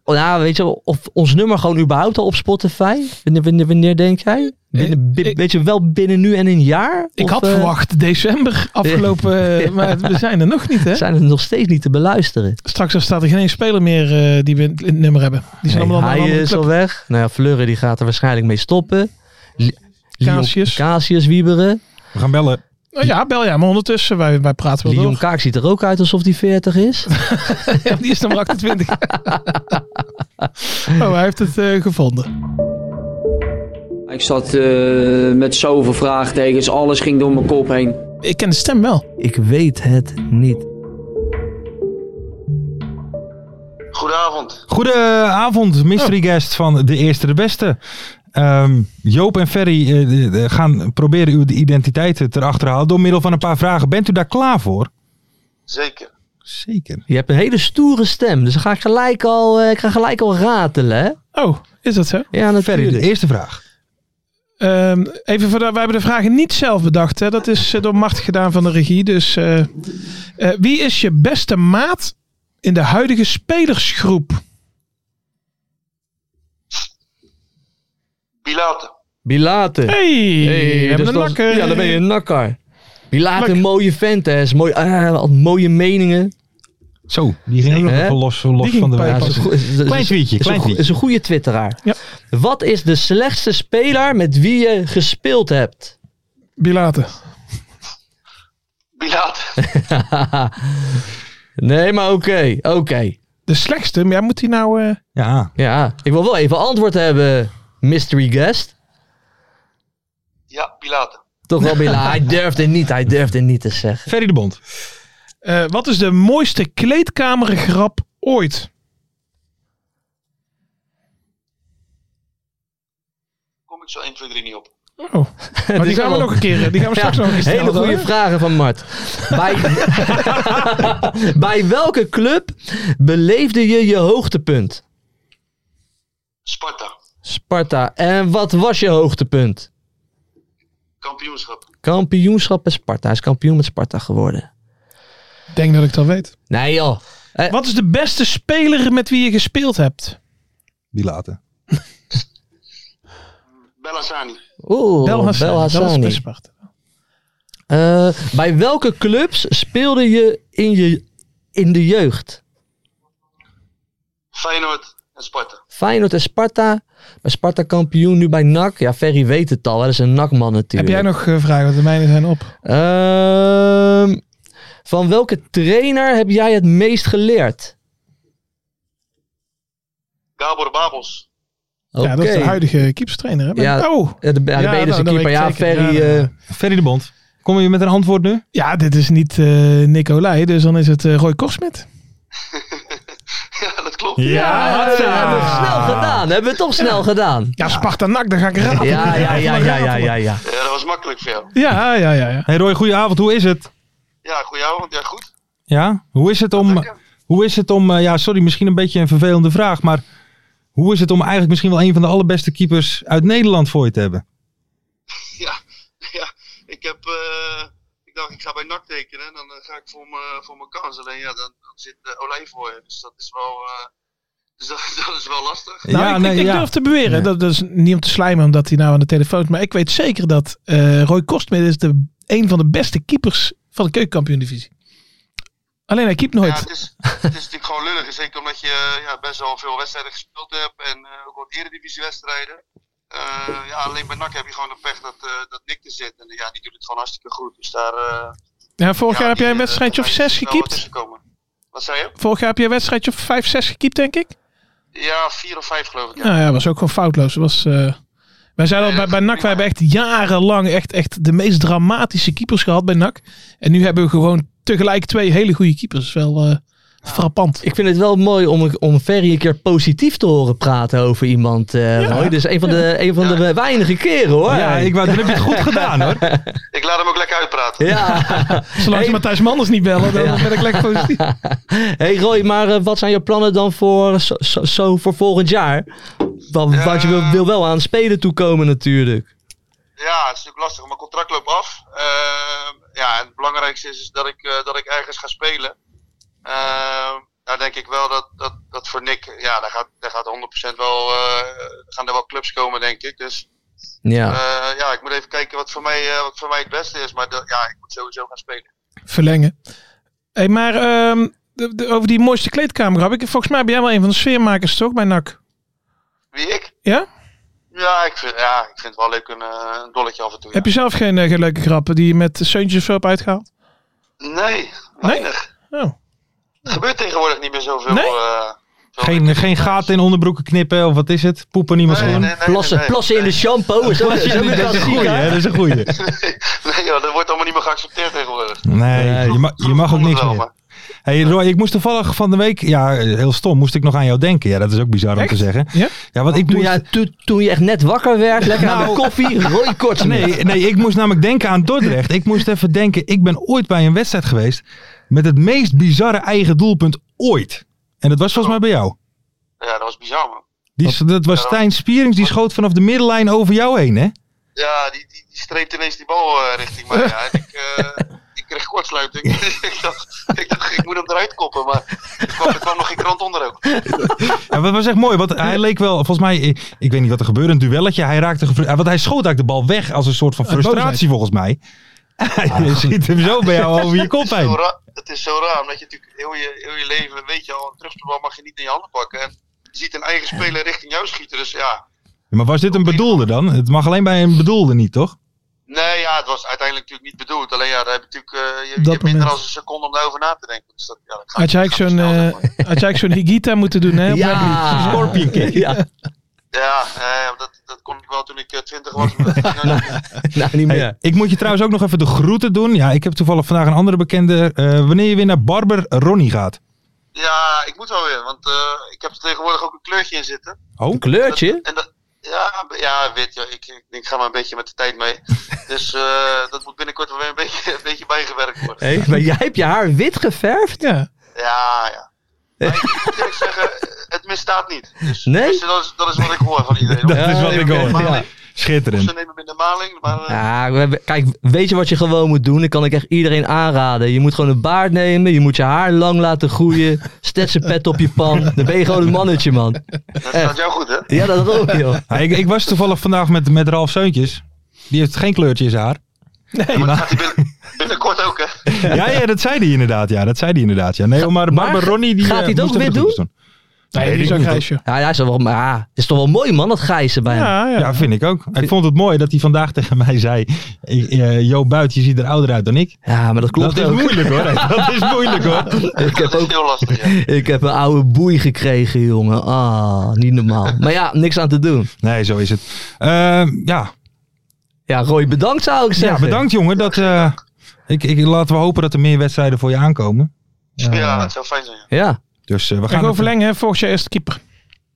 Oh, nou, weet je, wel, of ons nummer gewoon überhaupt al op Spotify? Wanneer, wanneer, wanneer denk jij? Binnen, bi- Eh, ik- weet je, wel binnen nu en een jaar? Ik Of, had eh, verwacht december afgelopen, eh, maar we zijn er nog niet hè. Zijn er nog steeds niet te beluisteren? Straks dan staat er geen één speler meer eh, die we in het nummer hebben. Die zijn Nee, allemaal aan een hij andere is club. al weg. Nou ja, Fleuren die gaat er waarschijnlijk mee stoppen. Li- Leon- Casius. Casius Wieberen. We gaan bellen. Nou ja, bel jij maar ondertussen. Wij, wij praten wel Leon door. Kaak ziet er ook uit alsof hij 40 is. Ja, die is nummer 28. oh, hij heeft het eh, gevonden. Ik zat eh, met zoveel vraagtekens, alles ging door mijn kop heen. Ik ken de stem wel. Ik weet het niet. Goedenavond. Goedenavond, mystery guest van De Eerste de Beste. Ehm, Joop en Ferry eh, de- de- gaan proberen uw identiteiten te achterhalen door middel van een paar vragen. Bent u daar klaar voor? Zeker. Zeker. Je hebt een hele stoere stem, dus dan ga ik gelijk al, eh, ik ga gelijk al ratelen. hè? Oh, is dat zo? Ja, Ferry, de natuurlijk. eerste vraag. Ehm, even voor de, wij hebben de vragen niet zelf bedacht. Hè. Dat is eh, door Mart gedaan van de regie. Dus eh, eh, wie is je beste maat in de huidige spelersgroep? Pilaten. Bilaten. Hey, we hebben dus een dat- nakker. Ja, dan ben je een nakker. Bilaten, Lekker. mooie vent, hè. Is mooi, ah, wat mooie meningen. Zo, die ging ook nog Hè? even los, los ging van de pijpen. Ja, weg. is een goe- is- is- Klein tweetje, is klein een goe- tweetje. Is een goede twitteraar. Ja. Wat is de slechtste speler met wie je gespeeld hebt? Bilaten. Pilaten. nee, maar oké, oké. De slechtste, maar ja, moet hij nou... eh, Ja, Ja, ik wil wel even antwoord hebben, mystery guest. Ja, Pilaten. Toch wel Bila. hij durfde niet, hij durfde niet te zeggen. Ferry de Bond. eh, wat is de mooiste kleedkamergrap ooit? Kom ik zo 1, 2, 3 niet op. Oh, maar die gaan we wel- nog een keer... eh, Die gaan we straks nog een keer stellen. Hele goede hoor. vragen van Mart. Bij, bij welke club beleefde je je hoogtepunt? Sparta. Sparta. En wat was je hoogtepunt? Kampioenschap. Kampioenschap bij Sparta. Hij is kampioen met Sparta geworden. Ik denk dat ik dat weet. Nee joh. Wat is de beste speler met wie je gespeeld hebt? Die laten. Bellassani. Oeh, Bel Hassani. Oh, Bel Dat was Hassani. bij Sparta. Eh, bij welke clubs speelde je in, je in de jeugd? Feyenoord en Sparta. Feyenoord en Sparta. Bij Sparta kampioen, nu bij NAC. Ja, Ferry weet het al. hè. Dat is een NAC-man Heb natuurlijk. jij nog eh, vragen? Want de mijne zijn op. Ehm, van welke trainer heb jij het meest geleerd? Gabor Babels. Ja, dat is de Oké. huidige keepstrainer. Hè? Ben- Ja. Oh, Ja, de, ja, de Ja, Bede is nou, een dat keeper. weet ik Ja, zeker. Ferry. Ja, ja, ja. eh, Ferry de Bond. Kom je met een antwoord nu? ja, dit is niet eh Nicolai, dus dan is het eh, Roy Korsmit. ja, dat klopt. ja, dat hebben we snel gedaan. Hebben we toch snel gedaan. Ja, Sparta NAC, daar ga ik raden. Ja, ja, ja, ja, ja, ja. ja. Ja, dat was makkelijk voor jou. Ja, ja, ja. ja. Hey Roy, goedenavond. Hoe is het? Ja, goedenavond. Ja, goed. Ja, hoe is het om... Lekker. Hoe is het om... eh, Ja, sorry, misschien een beetje een vervelende vraag, maar... Hoe is het om eigenlijk misschien wel een van de allerbeste keepers uit Nederland voor je te hebben? Ja, ja. Ik heb... eh, ik dacht, ik ga bij NAC tekenen. En dan eh, ga ik voor mijn, voor mijn kans. Alleen ja, dan, dan zit eh, Olij voor je. Dus dat is wel... eh, dus dat, dat is wel lastig. Nou, ik, ik- ik durf te beweren, dat, dat is niet om te slijmen omdat hij nou aan de telefoon is, maar ik weet zeker dat eh, Roy Korsmit is de, een van de beste keepers van de keukenkampioen-divisie. Alleen hij keept nooit. Ja, het is, het is natuurlijk gewoon lullig. Zeker omdat je eh, ja, best wel veel wedstrijden gespeeld hebt. En eh, ook wat eredivisiewedstrijden. Eh ja, alleen bij NAC heb je gewoon de pech dat, eh dat Nick er zit. En eh, ja, die doet het gewoon hartstikke goed. Dus daar... eh, Ja, vorig ja, jaar heb die, jij een eh, wedstrijdje of daar zes is wel wat gekiept. tussenkomen. Wat zei je? Vorig jaar heb jij een wedstrijdje of vijf, zes gekiept, denk ik. Ja, vier of vijf geloof ik. Ja. Nou ja, was ook gewoon foutloos. Was, eh, Wij zeiden al, bij, bij NAC, wij hebben echt jarenlang echt, echt de meest dramatische keepers gehad bij NAC. En nu hebben we gewoon tegelijk twee hele goede keepers. Wel eh, frappant. Ik vind het wel mooi om, om Ferry een keer positief te horen praten over iemand. eh Roy. Dus een van, de, een van de weinige keren hoor. Ja, ik wou, dan heb je het goed gedaan hoor. Ik laat hem ook lekker uitpraten. Ja. Zolang ze Hey. Matthijs Manders niet bellen, dan Ja. ben ik lekker positief. hey Roy, maar eh, wat zijn je plannen dan voor, zo, zo- zo voor volgend jaar? Want, Ja. want je wil, wil wel aan spelen toekomen natuurlijk. Ja, het is natuurlijk lastig. Mijn contract loopt af. Ehm, ja, en het belangrijkste is, is dat, ik, eh, dat ik ergens ga spelen. Ehm nou denk ik wel dat, dat, dat voor Nick, ja, daar gaat, daar gaat 100% wel, eh, gaan er wel clubs komen, denk ik. Dus Ja. eh, ja, ik moet even kijken wat voor mij, eh, wat voor mij het beste is. Maar dat- ja, ik moet sowieso gaan spelen. Verlengen. Hey, maar ehm, de- de- over die mooiste kleedkamer heb ik. Volgens mij ben jij wel een van de sfeermakers toch bij NAC? Wie ik? Ja? Ja, ik vind, ja, ik vind het wel leuk een, eh, een dolletje af en toe. ja. Heb je zelf geen, eh, geen leuke grappen die je met Seuntjes of zo hebt uitgehaald? Nee, weinig. Oh. Er gebeurt tegenwoordig niet meer zoveel. Nee? eh, zoveel- Geen, geen gaten in onderbroeken knippen of wat is het? Poepen niemand Nee, schoon. nee, nee, plassen nee, plassen in de shampoo is ook is ook een Dat is een klassieker. goeie, hè? Dat is een goeie. nee. nee, joh, dat wordt allemaal niet meer geaccepteerd tegenwoordig. Nee, je, ma- je mag ook Vroeger niks wel, meer. maar- Hey Roy, ik moest toevallig van de week, ja, heel stom, moest ik nog aan jou denken. Ja, dat is ook bizar om Echt? te zeggen. Ja? Ja, want ik Toen, moest, Oh, jij- to- toen je echt net wakker werd, lekker aan de koffie, Roy Kortsmit. nee, nee, ik moest namelijk denken aan Dordrecht. Ik moest even denken, ik ben ooit bij een wedstrijd geweest met het meest bizarre eigen doelpunt ooit. En dat was volgens mij bij jou. Ja, dat was bizar, man. Die, s- dat was Stijn Spierings, die schoot vanaf de middenlijn over jou heen, hè? Ja, die, die, die streept ineens die bal eh, richting mij. Ja, en ik, eh, ik kreeg kortsluiting. ik, dacht, ik dacht, ik moet hem eruit koppen, maar er kwam, er kwam nog geen krant onder ook. Ja, dat was echt mooi, want hij leek wel, volgens mij, ik, ik weet niet wat er gebeurde, een duelletje. Hij raakte, gefru- eh, want hij schoot eigenlijk de bal weg als een soort van Uit boosheid. frustratie, volgens mij. Hij ziet hem zo bij jou over je kop Het is, heen. zo raar, het is zo raar, omdat je natuurlijk heel je, heel je leven, weet je al, een terugspeelbal mag je niet in je handen pakken. En je ziet een eigen speler richting jou schieten, dus ja. Ja, Maar was dit een bedoelde dan? Het mag alleen bij een bedoelde niet, toch? Nee, ja, het was uiteindelijk natuurlijk niet bedoeld. Alleen ja, daar heb je natuurlijk eh, je, je dat hebt minder moment. dan een seconde om daarover na te denken. Dus dat, ja, dat gaat- Had jij ook gaat zo'n, snel, eh, zeg maar. had jij ook zo'n Higita moeten doen, hè? op Wembley? Ja. Scorpion kick. Ja, Ja, eh, dat, dat kon ik wel toen ik eh, twintig was. maar dat ging nou niet. nou niet Hey, meer. Ik moet je trouwens ook nog even de groeten doen. Ja, ik heb toevallig vandaag een andere bekende. eh, wanneer je weer naar Barber Ronnie gaat. Ja, ik moet wel weer, want eh, ik heb er tegenwoordig ook een kleurtje in zitten. Een kleurtje? En dat, ja, b- ja, weet je, ik, ik, ik ga maar een beetje met de tijd mee. Dus eh, dat moet binnenkort wel weer een beetje, een beetje bijgewerkt worden. Hé, maar jij hebt je haar wit geverfd? Ja. Ja, ja. Maar ik ik moet eerlijk zeggen, het misstaat niet. Dus, Nee? tenminste, dat, is, dat is wat ik hoor van iedereen. Dat is wat ik Eh, oké. hoor. Ja. Schitterend. Ze nemen hem in de maling, maar... eh, Ah. Ja, we hebben- kijk, weet je wat je gewoon moet doen? Ik kan ik echt iedereen aanraden. Je moet gewoon een baard nemen, je moet je haar lang laten groeien, pet op je pan. Dan ben je gewoon een mannetje, man. dat staat jou goed, hè? Ja, dat ook, joh. Ja, ik, ik was toevallig vandaag met, met Ralf Seuntjes. Die heeft geen kleurtje in zijn haar. Maar dat gaat hij binnen- binnenkort ook, hè? Ja, ja, dat zei hij inderdaad. Ja, dat zei hij inderdaad. Ja. Nee, maar maar Barber Ronnie... Die, gaat eh, hij het ook moest even weer de groeten Nee, weet die is ik ook niet. grijsje. Ja, ja, is toch wel, maar ja, het is toch wel mooi, man, dat grijze bij hem. Ja, ja. doen. Ja, vind ik ook. Ik vond het mooi dat hij vandaag tegen mij zei... "Ik, eh, Jo Buit, je ziet er ouder uit dan ik. Ja, maar dat klopt dat is ook. moeilijk hoor. Dat is moeilijk hoor. Ik heb Dat is ook heel lastig, ja. ik heb een oude boei gekregen, jongen. Ah, niet normaal. Maar ja, niks aan te doen. Nee, zo is het. Eh, ja, Ja, Roy, bedankt zou ik Ja, zeggen. bedankt jongen. Dat, eh, ik, ik, laten we hopen dat er meer wedstrijden voor je aankomen. Ja, het zou fijn zijn, ja. Ja, Dus eh, we gaan. En gewoon het- verlengen, hè? Volgend jaar eerste keeper.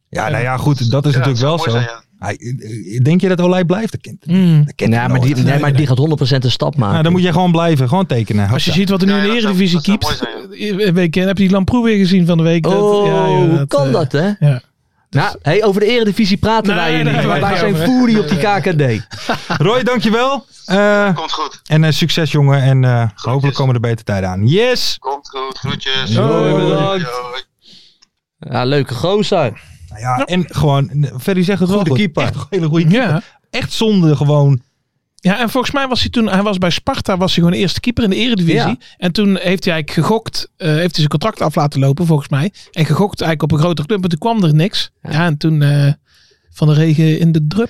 ja, nou ja, goed. Dat is Ja, natuurlijk wel het zo. zou mooi zijn, ja. Hij- eh, denk je dat Olij blijft? Dat kind. Hmm. Dat kind nee, maar, die, nee, maar die gaat 100% een stap maken. nou, dan moet jij gewoon blijven. Gewoon tekenen. Als je Hopsa. ziet wat er nu Ja, in de dat zou- Eredivisie dat zou keept. mooi eh, Week in heb je die Lamproe weer gezien van de week. Dat- Oh, ja, joh, hoe kan eh, dat, hè? ja. Dus- Nou, hey, over de eredivisie praten Nee, wij hier nee, niet. nee, maar wij nee, zijn nee. foodie op die KKD. Roy, dankjewel. Eh Komt goed, en eh, succes jongen. En eh, hopelijk komen er beter tijden aan. Yes! komt goed. Groetjes. Hoi, bedankt. Hoi. Ja, leuke gozer. Nou ja, en gewoon, eh, Ferry zegt het wel Goede goed. keeper. Echt een hele goede keeper. Ja. Echt zonde gewoon. ja, en volgens mij was hij toen, hij was bij Sparta, was hij gewoon eerste keeper in de Eredivisie. Ja. En toen heeft hij eigenlijk gegokt, eh, heeft hij zijn contract af laten lopen volgens mij. En gegokt eigenlijk op een grotere club, maar toen kwam er niks. Ja, en toen eh, van de regen in de drup.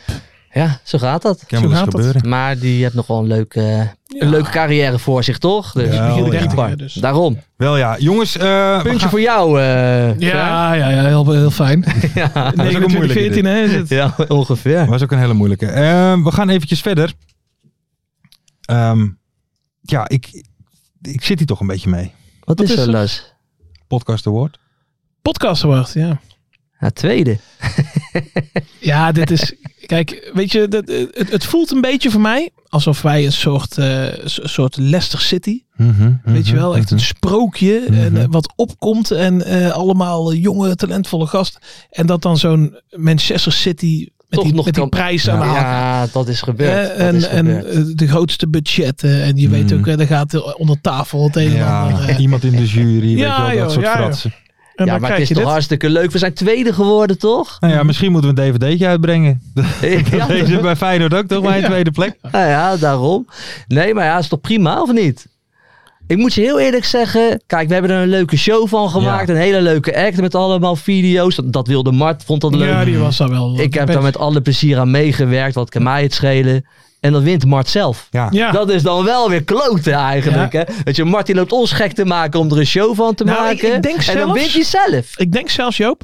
Ja, zo gaat dat. Kan wel Zo eens gaat dat. gebeuren. Maar die heeft nog wel een leuke, een leuke carrière voor zich, toch? Dus Ja, Begin oh, de 30, keeper. hè, dus. Daarom. Wel ja, jongens. eh, we Puntje gaan- voor jou. eh, Frank. Ja, ja, ja heel, heel fijn. ja. ook een 29, moeilijke 14 hè, is het. ja, ongeveer. was ook een hele moeilijke. Eh, we gaan eventjes verder. Ehm, ja, ik, ik zit hier toch een beetje mee. Wat, is, is er, er? Lars? Podcast Award. Podcast Award, ja. Ja, tweede. Ja, dit is... Kijk, weet je, dat, eh, het, het voelt een beetje voor mij alsof wij een soort, eh, een soort Leicester City Mhm, Weet Mhm, je wel, echt een sprookje en, eh, wat opkomt en eh, allemaal jonge, talentvolle gasten. En dat dan zo'n Manchester City met, Toch die, nog met die kan- prijs aan de hand. Ja, dat is Nou, Eh, gebeurd. Dat en is Mhm. en gebeurd. eh, de grootste budgetten. En je weet ook, eh, er gaat eh, onder tafel het een en ander. Ja, eh. iemand in de jury, weet Ja, je wel, dat joh, soort ja, joh. fratsen. En ja, dan maar krijg het is je toch dit. hartstikke leuk. We zijn tweede geworden, toch? Nou ja, misschien moeten we een dvd'tje uitbrengen. ja, Deze bij Feyenoord ook toch, mijn tweede plek. nou ja, daarom. Nee, maar ja, is toch prima, of niet? Ik moet je heel eerlijk zeggen, kijk, we hebben er een leuke show van gemaakt. Een hele leuke act met allemaal video's. Dat, dat wilde Mart, vond dat leuk. Ja, die was daar wel. eh, ik heb daar met alle plezier aan meegewerkt, wat kan mij het schelen. En dat wint Mart zelf. Ja, Ja. Dat is dan wel weer kloten eigenlijk. Ja. Hè? Dat je Mart die loopt ons gek te maken om er een show van te Nou, ik- maken. ik denk en dan zelfs- wint hij zelf. Ik denk zelfs, Joop,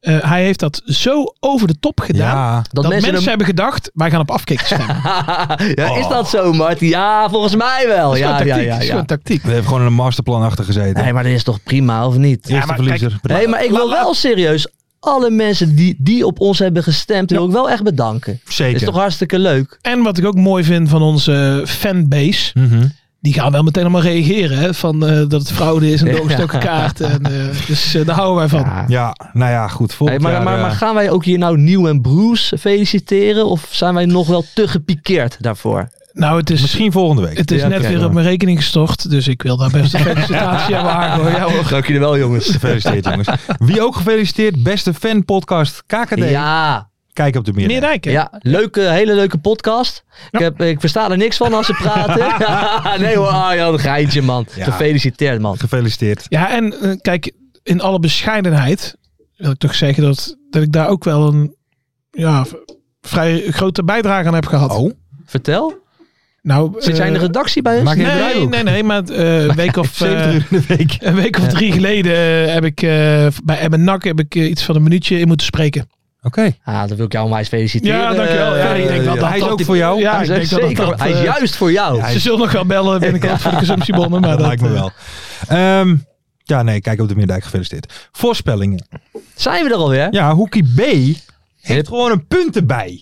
eh, hij heeft dat zo over de top gedaan. ja. Dat, Dat, mensen, mensen, hem- hebben gedacht, wij gaan op afkikken stemmen. ja, Is dat zo, Mart? Ja, volgens mij wel. Dat is Ja, gewoon ja, tactiek, ja, dat is ja. gewoon tactiek. we hebben gewoon een masterplan achter gezeten. Nee, maar dat is toch prima, of niet? Eerste maar verliezer. Nee, maar ik wil la- wel serieus alle mensen die, die op ons hebben gestemd, wil ik wel echt bedanken. Zeker. Is toch hartstikke leuk? En wat ik ook mooi vind van onze fanbase, Mhm. die gaan wel meteen allemaal reageren. Hè? Van eh, dat het fraude is en Ja. doorgestoken kaart. En, eh, dus eh, daar houden wij van. Ja, nou ja, goed. Volgend Hey, maar, jaar, maar, maar eh, gaan wij ook hier nou Nieuw en Bruce feliciteren? Of zijn wij nog wel te gepikeerd daarvoor? Nou, het is, misschien volgende week. het is Ja, net oké, weer hoor. op mijn rekening gestort. Dus ik wil daar best een felicitatie aan wagen. hoor. Ja, hoor. Dank jullie wel, jongens. Gefeliciteerd jongens. Wie ook gefeliciteerd, beste fanpodcast Eh, KKD. Ja, Kijk op de meer. Meneer Dijken. ja leuke, hele leuke podcast. Ik, heb, ik versta er niks van als ze praten. nee hoor, Arjan, geintje man. Ja. Gefeliciteerd man. Gefeliciteerd. Ja, en eh, kijk, in alle bescheidenheid wil ik toch zeggen dat, dat ik daar ook wel een ja, v- vrij grote bijdrage aan heb gehad. Oh, Vertel, Nou, zit jij in de eh, redactie bij ons? maak je een Nee, draaiboek? nee, nee, maar eh, een week of... eh, 70 uur in de week. Een week of drie geleden eh, heb ik eh, bij Emmen Nak heb ik eh, iets van een minuutje in moeten spreken. Oké. Ah, dan wil ik jou onwijs feliciteren. Ja, dankjewel. Ja, Eh, ik denk dat ja. dat- Hij is dat ook die- voor jou. Ja, Hij ik is denk echt dat dat zeker- dat, Hij is eh, juist voor jou. Ze zullen nog wel bellen binnenkort voor de consumptiebonnen. Maar dat, dat, lijkt me eh, wel. Ehm, ja, nee, kijk op de Meerdijk, gefeliciteerd. Voorspellingen. Zijn we er alweer? Ja, Hoekie B heeft Hip. gewoon een punt erbij.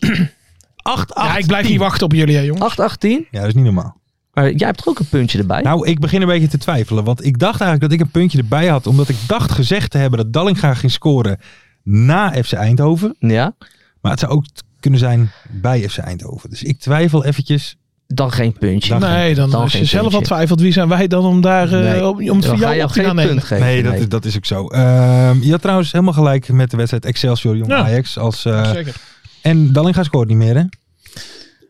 8, 8, Ja, ik blijf niet wachten op jullie, hè, jongen. 8, 18. Ja, dat is niet normaal. Maar jij hebt er ook een puntje erbij. Nou, ik begin een beetje te twijfelen. Want ik dacht eigenlijk dat ik een puntje erbij had. Omdat ik dacht gezegd te hebben dat Dallinga ging scoren na FC Eindhoven. ja. Maar het zou ook t- kunnen zijn bij FC Eindhoven. Dus ik twijfel eventjes. Dan geen puntje. Dan- Nee, dan Dan als je geen zelf al puntje. twijfelt, wie zijn wij dan om daar eh, Nee. om, om het Dan voor ga je jou op te gaan geen nemen? punt geven. Nee, dat, is- dat is ook zo. Ehm, je had trouwens helemaal gelijk met de wedstrijd Excelsior Jong Ja. Ajax. Als, eh, Zeker. en Dallinga scoort niet meer, hè?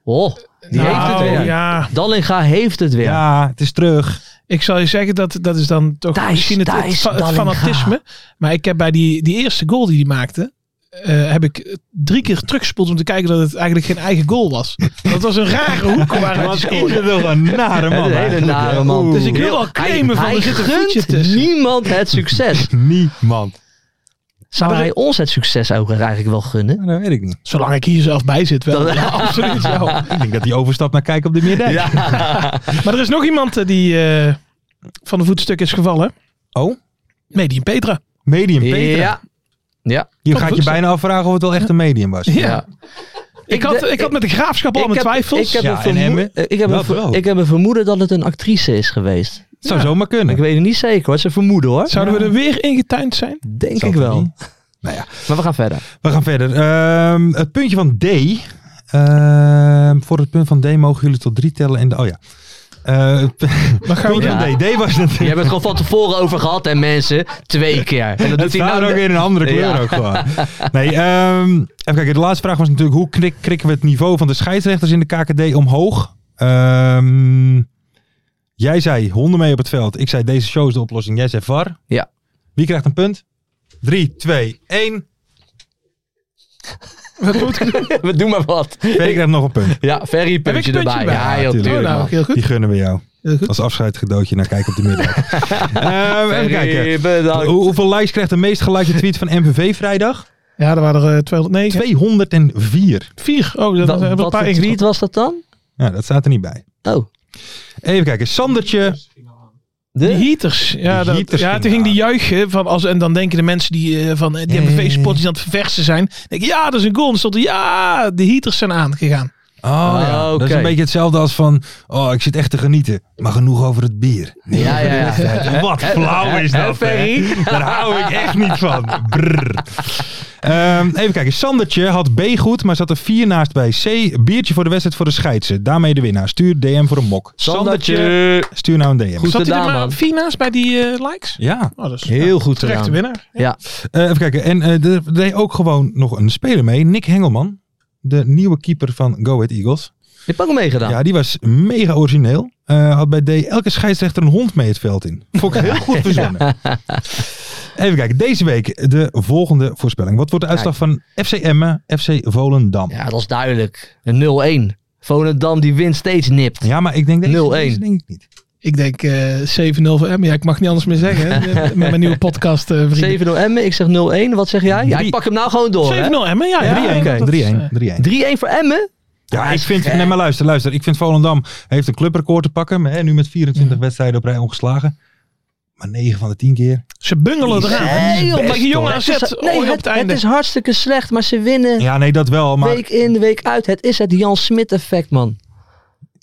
Oh, die Nou, heeft het weer. ja, Dallinga heeft het weer. Ja, het is terug. ik zal je zeggen, dat, dat is dan toch Thijs, misschien het, het Thijs fa- het Dallinga. fanatisme. Maar ik heb bij die, die eerste goal die hij maakte, eh, heb ik drie keer teruggespoeld om te kijken dat het eigenlijk geen eigen goal was. Dat was een rare hoek waar hij scoorde. wel een nare Een hele eigenlijk, hè? nare man. Oeh. Dus ik wil wel claimen van hij er zit een voetje gunt tussen. niemand het succes. Niemand. Zou hij ons het succes ook eigenlijk wel gunnen? Nou, dat weet ik niet. Zolang ik hier zelf bij zit wel. Dat- Ja, absoluut wel. Ik denk dat die overstap naar Kijk op de Meerdijk. Maar er is nog iemand eh, die eh, van de voetstuk is gevallen. Oh, Medium Petra. medium Peter. ja. ja. Je Kan gaat je goed zijn. bijna afvragen of het wel echt een medium was. Ja. Ik, had, ik had met de graafschap al Ik mijn heb- twijfels. Ik heb, Ja, een en vermoe- Emmen? eh, ik, heb Dat een ver- wel. ik heb een vermoeden dat het een actrice is geweest. Het zou zomaar kunnen. Ik weet het niet zeker hoor. Ze vermoeden hoor. Zouden we er weer ingetuind zijn? Denk Zal ik het wel. niet? Nou ja. Maar we gaan verder. We gaan verder. Ehm, het puntje van D. Ehm, voor het punt van D mogen jullie tot drie tellen. En de, oh ja. Eh, het Maar gaan we puntje Ja. van D. D was natuurlijk... Je hebt het gewoon van tevoren over gehad en mensen. Twee keer. En dat Het doet hij staat nou er ook weer in een andere kleur Ja. ook gewoon. Nee, ehm, even kijken. De laatste vraag was natuurlijk... hoe krik, krikken we het niveau van de scheidsrechters in de KKD omhoog? Ehm, jij zei honden mee op het veld. Ik zei deze show is de oplossing. Jij zei VAR. Ja. Wie krijgt een punt? 3, 2, 1. Wat moet ik doen? We doen maar wat. Ferry krijgt nog een punt. Ja, Ferry puntje puntje erbij. erbij? Ja, Ja, heel tuurlijk. tuurlijk. Oh, nou, man. heel goed. Die gunnen we jou. Heel goed. Als afscheidgedootje naar Kijk op de Middag. Ehm, even kijken. Ferry, bedankt. Hoe- hoeveel likes krijgt de meest gelikte tweet van MVV vrijdag? Ja, er waren er eh, 209. 204. Vier. Oh, dat Wat, hebben we een paar wat voor tweet ingetrokken. was dat dan? Ja, dat staat er niet bij. Oh, Even kijken. Sandertje. de? Die heaters. Ja, Die dat, heaters ja gingen toen ging die aan. juichen. Van als, en dan denken de mensen die eh, van eh, die Ja, ja, ja, MVV sport die aan het verversen zijn. Denken, ja, dat is een goal. Dan stond er, ja, de heaters zijn aangegaan. Oh ja, Ah, dat is oké. een beetje hetzelfde als van... Oh, ik zit echt te genieten. Maar genoeg over het bier. Nee, Ja, ja, ja. vet. Wat flauw is dat, hè? Daar hou ik echt niet van. Brrr. Ehm, even kijken. Sandertje had B goed, maar zat er 4 naast bij C. Biertje voor de wedstrijd voor de scheidsen. Daarmee de winnaar. Stuur DM voor een mok. Sandertje. Stuur nou een DM. Goed Zat gedaan, hij er maar man. vier naast bij die eh, likes? Ja. Oh, dat is Heel goed terechte gedaan. winnaar. Ja, Eh, even kijken. En eh, er deed ook gewoon nog een speler mee. Nick Hengelman. De nieuwe keeper van Go Ahead Eagles. je hebt ook meegedaan. Ja, die was mega origineel. Eh, had bij D elke scheidsrechter een hond mee het veld in. Vond ik heel goed verzonnen. Even kijken, deze week de volgende voorspelling. Wat wordt de uitslag van FC Emmen, FC Volendam? Ja, Ja, dat is duidelijk. Een 0-1. Volendam die wint steeds nipt. maar ik denk deze, 0-1. deze denk ik niet. Ik denk eh 7-0 voor Emmen. Ja, ik mag niet anders meer zeggen. hè, Eh, Met mijn nieuwe podcast eh, vrienden. 7-0 Emmen, ik zeg 0-1. Wat zeg jij? Ja, Drie. ik pak hem nou gewoon door. 7-0 hè? 3-1 Emmen, ja. ja, Ja, oké. dat is, eh, 3-1, 3-1. voor Emmen? Ja, Ah, ik is vind, gek. nee, maar luister, luister. Ik vind Volendam heeft een clubrecord te pakken. maar, Hè, nu met 24 wedstrijden op rij ongeslagen. Maar 9 van de 10 keer. Ze bungelen Die eraan. zijn Nee, joh, best, maar die jongen hoor. AZ Het is- hoor je nee, op het het, het einde. is hartstikke slecht, maar ze winnen Ja, nee, dat wel. Maar, week in, week uit. Het is het Jan Smit effect, man.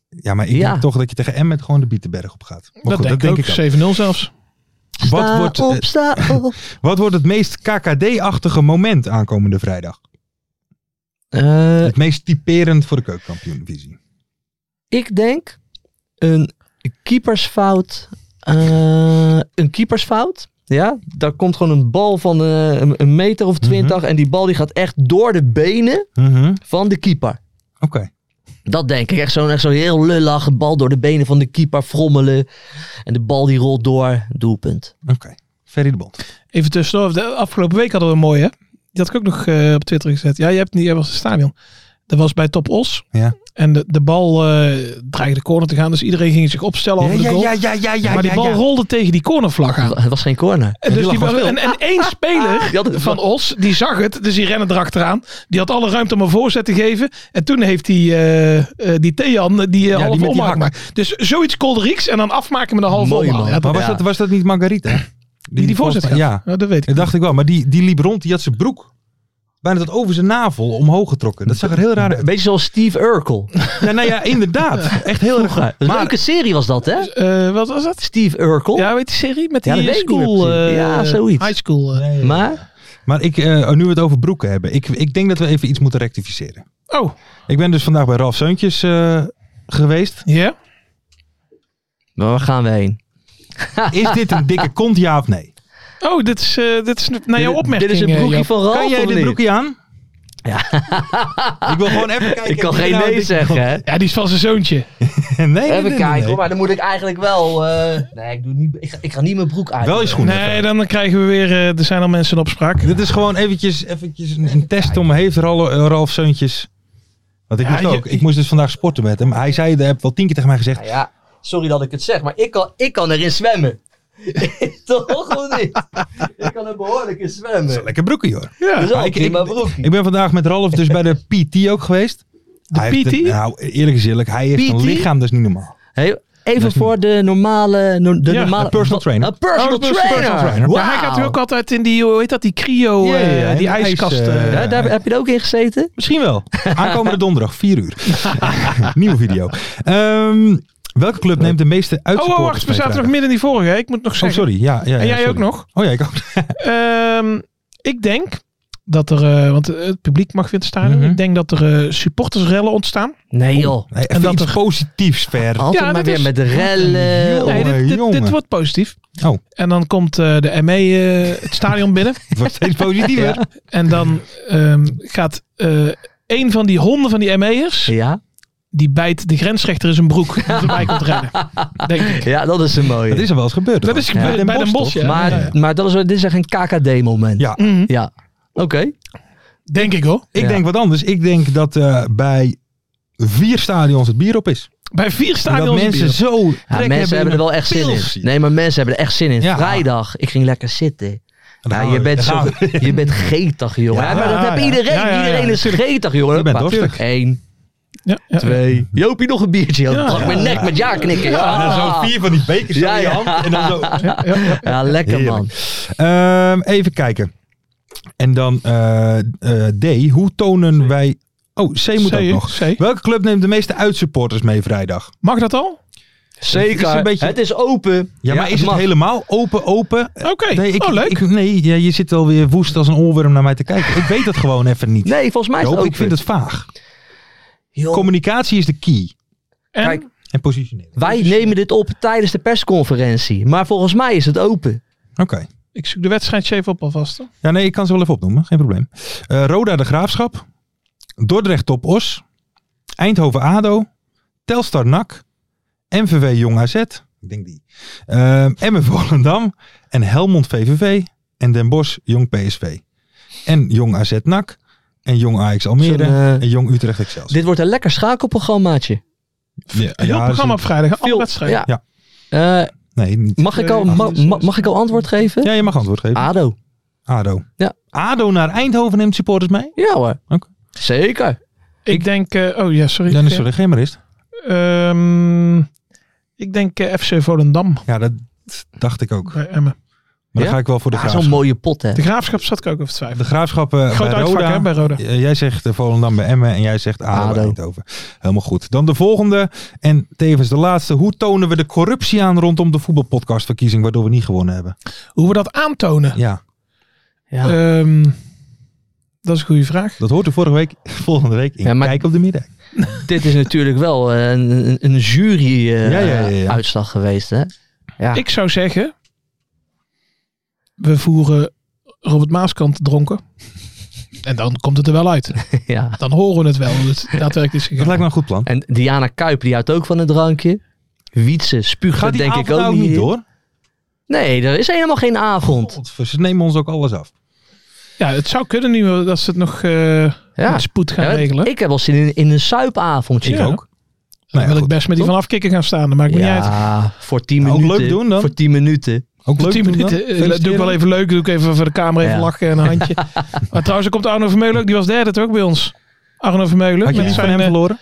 ja, maar ik Ja. denk toch dat je tegen Emmen gewoon de Bietenberg op gaat. Maar dat goed, denk dat denk ik ik ook. ook. 7-0 zelfs. Wat sta wordt, eh, op, sta op. Wat wordt het meest KKD-achtige moment aankomende vrijdag? Eh, Het meest typerend voor de keukenkampioenvisie. ik denk een keepersfout. eh, een keepersfout. Ja, daar komt gewoon een bal van eh, een, een meter of twintig. Mhm. En die bal die gaat echt door de benen Mhm. van de keeper. Oké. Dat denk ik. Echt zo'n echt zo'n heel lullig bal door de benen van de keeper frommelen. En de bal die rolt door. Doelpunt. Oké. Ferry de Bond. Even tussendoor. De afgelopen week hadden we een mooie. hè? Die had ik ook nog eh, op Twitter gezet. Ja, je hebt niet. Jij was in het stadion. Dat was bij Top Os. Ja. En de, de bal eh dreigde de corner te gaan. Dus iedereen ging zich opstellen over de goal. ja, ja, ja. maar die bal rolde tegen die cornervlag aan. Het was geen corner. En, dus lag die, gewoon stil. en, en één speler Die had het- van Os, die zag het, dus die rennen erachteraan. Die had alle ruimte om een voorzet te geven. En toen heeft die, eh eh, die Thean eh, die eh, die halve met die omhaak hak. gemaakt. Dus zoiets Kolderieks en dan afmaken met een halve Mooi, omhaak. man. Ja, dat- Maar was, Ja. dat, was dat niet Margarita? die die voorzet volgens mij- gaf. Ja, Ja, dat weet ik. dat dacht ik wel. Maar die, die liep rond, die had zijn broek bijna tot over zijn navel omhoog getrokken. Dat zag er heel raar uit. Beetje zoals Steve Urkel. Ja, nou ja, inderdaad. Echt heel erg Een leuke serie was dat, hè? Eh, wat was dat? Steve Urkel. Ja, weet die serie? Met Oh. Ja, die dat eh, weet ik niet meer school. precies. eh, Ja, zoiets. High school. eh. Nee. Maar, Maar ik, eh, nu we het over broeken hebben. Ik, ik denk dat we even iets moeten rectificeren. Oh, Ik ben dus vandaag bij Ralf Seuntjes eh, geweest. ja. waar gaan we heen? Is dit een dikke kont, ja of nee? Oh, dit is, eh, dit is naar jouw opmerking. Dit is eh, een broekje Joop. van Ralf, Kan jij of dit niet? broekje aan? Ja. Ik wil gewoon even kijken. Ik kan of dit geen nou een nee dikke zeggen, hè? Ja, die is van zijn zoontje. kont- Nee, nee, nee, Even nee, kijken, nee. hoor. Maar dan moet ik eigenlijk wel... eh, nee, ik, doe niet, ik, ga, ik ga niet mijn broek uit. Wel je schoenen. Nee, even. dan krijgen we weer. eh, er zijn al mensen in opspraak. Dit is gewoon eventjes, eventjes een, een test om. Heeft Ralf, Ralf Seuntjes... Want ik Ja, moest je- ook. Ik moest dus vandaag sporten met hem. Hij zei, hij heeft wel tien keer tegen mij gezegd. Nou ja, sorry dat ik het zeg, maar ik kan, ik kan erin zwemmen. Toch of niet? Ik kan er behoorlijk in Dat is zwemmen. Dus een lekker broekje hoor. Dat is Ja. Oh, wel ik- een prima broekje. Ik ben vandaag met Ralf dus bij de PT ook geweest. De PT? nou, eerlijk is eerlijk. Hij heeft een PT? lichaam, dat is niet normaal. Hey, even voor de normale... no- de Ja, normale een personal trainer. Een personal Oh, een personal trainer. trainer. Wauw. Maar hij gaat nu ook altijd in die, hoe heet dat, die cryo, Ja, eh, ja, ja, die in de ijskast. ijs, eh. eh, Hè, daar, heb je er ook in gezeten? Misschien wel. Aankomende donderdag, 4 uur. Nieuwe video. Ehm, welke club neemt de meeste oh, uitsupporters oh, wacht, we mee zaten nog vrijdag? midden in die vorige. hè. Ik moet nog Oh, zeggen. sorry. Ja, ja, ja, en jij sorry. ook nog. Oh ja, ik ook. Ehm, ik denk dat er, eh, want eh, het publiek mag weer te staan. Mhm. Ik denk dat er eh, supportersrellen ontstaan. Nee joh. Nee, En en dat dat iets er- Oh. positiefs ver. Altijd Ja, maar dat weer is- met de rellen. Oh, Jongen, nee, dit, dit, dit jongen. wordt positief. Oh. En dan komt eh, de ME eh, het stadion binnen. Het wordt steeds positiever. Ja. En dan ehm, gaat eh een van die honden van die ME'ers, Ja? die bijt de grensrechter in zijn broek. Die erbij komt rennen. Denk ik. ja, dat is een mooie. Dat is er wel eens gebeurd. Dat hoor. is gebeurd bij Den Bosch, toch? ja. maar, maar dat is, dit is echt een KKD moment. Ja. Mhm. Ja. Oké. Denk ik hoor. Ik Ja. denk wat anders. Ik denk dat eh, bij vier stadions het bier op is. Bij vier En dat stadions. mensen bier. zo Ja, trek mensen hebben er wel echt zin pils. in. Nee, maar mensen hebben er echt zin in. Ja. Vrijdag, ik ging lekker zitten. Dan Ja, gaan je, we- bent dan zo, gaan we- je bent geetig, jongen. Ja, maar dat ja, heb ja. iedereen. Ja, ja, ja, iedereen is geetig, jongen. Je bent Hoppa. dorstig. Eén, Ja, ja. twee. Jopie, nog een biertje. Dan pak mijn nek met ja knikken. Ja, En dan Ah, Ah. zo vier van die bekers Ja, zo in je ja. hand. En dan zo... Ja, lekker man. Ehm, even kijken. En dan eh, eh, D. Hoe tonen wij... Oh, C moet C, ook nog. C. Welke club neemt de meeste uitsupporters mee vrijdag? Mag dat al? Zeker. Het is een beetje- Het is open. Ja, maar is het mag. helemaal open, open? Oké. Eh, Nee, ik, oh, leuk. ik- nee ja, je zit alweer woest als een olworm naar mij te kijken. Ik weet dat gewoon even niet. Nee, volgens mij is het Joop, open. ik vind het vaag. Joh, Communicatie is de key. en kijk, En positionering. wij nemen dit op tijdens de persconferentie. Maar volgens mij is het open. Oké. ik zoek de wedstrijdje even op alvast. hoor. Ja, nee, ik kan ze wel even opnoemen. Geen probleem. Eh, Roda de Graafschap. Dordrecht Top Os. Eindhoven ADO. Telstar NAC. MVV Jong AZ. Ik denk die. Uh, MF Volendam. En Helmond VVV. En Den Bosch Jong PSV. En Jong AZ NAC. En Jong Ajax Almere. Zo'n, eh, en Jong Utrecht Excelsior. Dit wordt een lekker schakelprogrammaatje. Ja, Heel ja, programma op ze- vrijdag. Alle Veel- wedstrijden. Ja. Eh, Nee, niet. mag, ik al, ma- ma- mag ik al antwoord geven? Ja, je mag antwoord geven. ADO. ADO. Ja. ADO naar Eindhoven neemt supporters mee? Ja hoor. Oké. Zeker. Ik denk... eh, oh ja, sorry. Dan is er geen maar is. Ehm, ik denk eh, FC Volendam Ja, dat dacht ik ook. Maar bij Emmen. dan Ja? ga ik wel voor de Ja, graafschap. Ah, Zo'n mooie pot hè. De Graafschap zat ik ook over De twijfel. graafschap eh, Groot bij uitvak Roda. hè, bij Roda. Eh, Jij zegt eh, Volendam bij Emmen en jij zegt ADO, bij ADO. Eindhoven. Helemaal goed. Dan de volgende en tevens de laatste. Hoe tonen we de corruptie aan rondom de voetbalpodcastverkiezing waardoor we niet gewonnen hebben? Hoe we dat aantonen? Ja, Ja. Ehm, dat is een goede vraag. dat hoort er vorige week, volgende week in Ja, maar- Kijk op de Middag. Dit is natuurlijk wel eh, een, een- een Ja, ja, ja, ja. jury-uitslag geweest hè. Ja. Ik zou zeggen... We voeren Robert Maaskant dronken. En dan komt het er wel uit. ja. Dan horen we het wel. hoe het daadwerkelijk is Dat gegaan. lijkt me een goed plan. En Diana Kuip die houdt ook van een drankje. Wietse spuugt Gaat er die denk avond ik ook nou niet in. door? Nee, er is helemaal geen avond. God, ze nemen ons ook alles af. Ja, het zou kunnen nu wel dat ze het nog eh, Ja. met spoed gaan Ja, regelen. Ik heb wel zin in, in een suipavondje. Ja. ook. Dan Nou ja, wil ik goed. best met die vanaf kikken gaan staan. Dat maakt me niet uit. Ja, voor 10 Nou, ook minuten. leuk doen dan. Voor 10 minuten. Ook Voor leuk 10 doen dan. minuten. eh, doe ik wel Feliciteren. even leuk. Doe ik even voor de camera even Ja. lachen en een handje. maar trouwens, er komt Arno Vermeulen ook. Die was derde toch bij ons. Arno Vermeulen. Had je met iets van zijn, hem eh, verloren?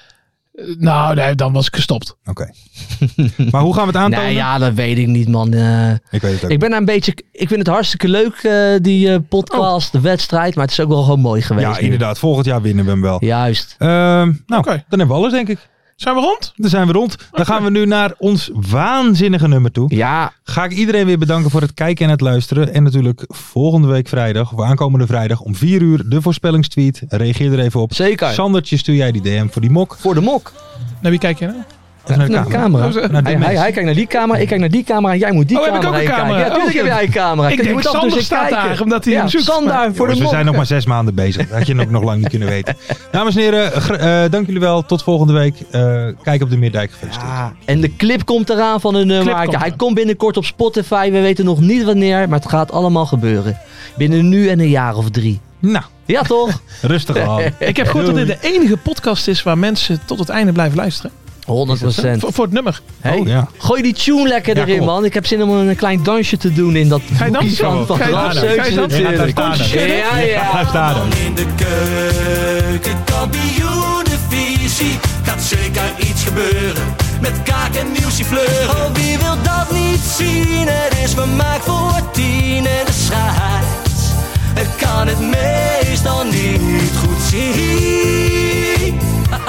nou, nee, dan was ik gestopt. Oké. maar hoe gaan we het aantonen? Nee, Nou ja, dat weet ik niet, man. Eh, Ik weet het ook. ik ben daar een beetje. Ik vind het hartstikke leuk, eh, die eh, podcast, de wedstrijd. Maar het is ook wel gewoon mooi geweest. ja, nu. inderdaad. Volgend jaar winnen we hem wel. Juist. Ehm, nou, Oké. dan hebben we alles, denk ik. Zijn we rond? Dan zijn we rond. Dan gaan we nu naar ons waanzinnige nummer toe. Ja, Ga ik iedereen weer bedanken voor het kijken en het luisteren. En natuurlijk volgende week vrijdag, of aankomende vrijdag om 4 uur, de voorspellingstweet. Reageer er even op. zeker. Sandertje, stuur jij die DM voor die mok. voor de mok. Naar wie kijk je nou? Of naar de Naar de camera. camera. Naar die Hij, hij, mensen. hij kijkt naar die camera, ik kijk naar die camera. Jij moet die Oh, heb ik camera. ook een heen camera? kijken. Ja, Oh, tuurlijk heb shit. jij een camera. Ik Kijk, je denk, moet af en toe Sander eens staat kijken. daar, omdat hij ja, hem zoekt. Sander Maar- voor Jongens, de we mok. zijn nog maar zes maanden bezig. Dat had je ook nog lang niet kunnen weten. Dames en heren, gr- eh, dank jullie wel. Tot volgende week. Eh, kijk op de Meerdijk. Gefeliciteerd. Ja, Ah, en de clip komt eraan van een nummer. Ah. komt hij eraan. komt binnenkort op Spotify. We weten nog niet wanneer, maar het gaat allemaal gebeuren. Binnen nu en een jaar of drie. Nou, Ja, toch? rustig aan. Ik heb gehoord dat dit de enige podcast is waar mensen tot het einde blijven luisteren. 100 procent. Voor, voor het nummer. Hey, Oh, ja. Gooi die tune lekker Ja, erin, kom op. man. Ik heb zin om een klein dansje te doen in dat je boekje dansen? van, van Ga je Ralf dansen? Ga je Zeuxen dansen? natuurlijk. Ja, daar staan we. Ja, ja. Blijf daar dan. In de keuken, kampioenenvisie. Gaat zeker iets gebeuren. Met kaak en muziefleur. Oh, wie wil dat niet zien? Het is vermaakt voor tien en de scheids. Het kan het meestal niet goed zien.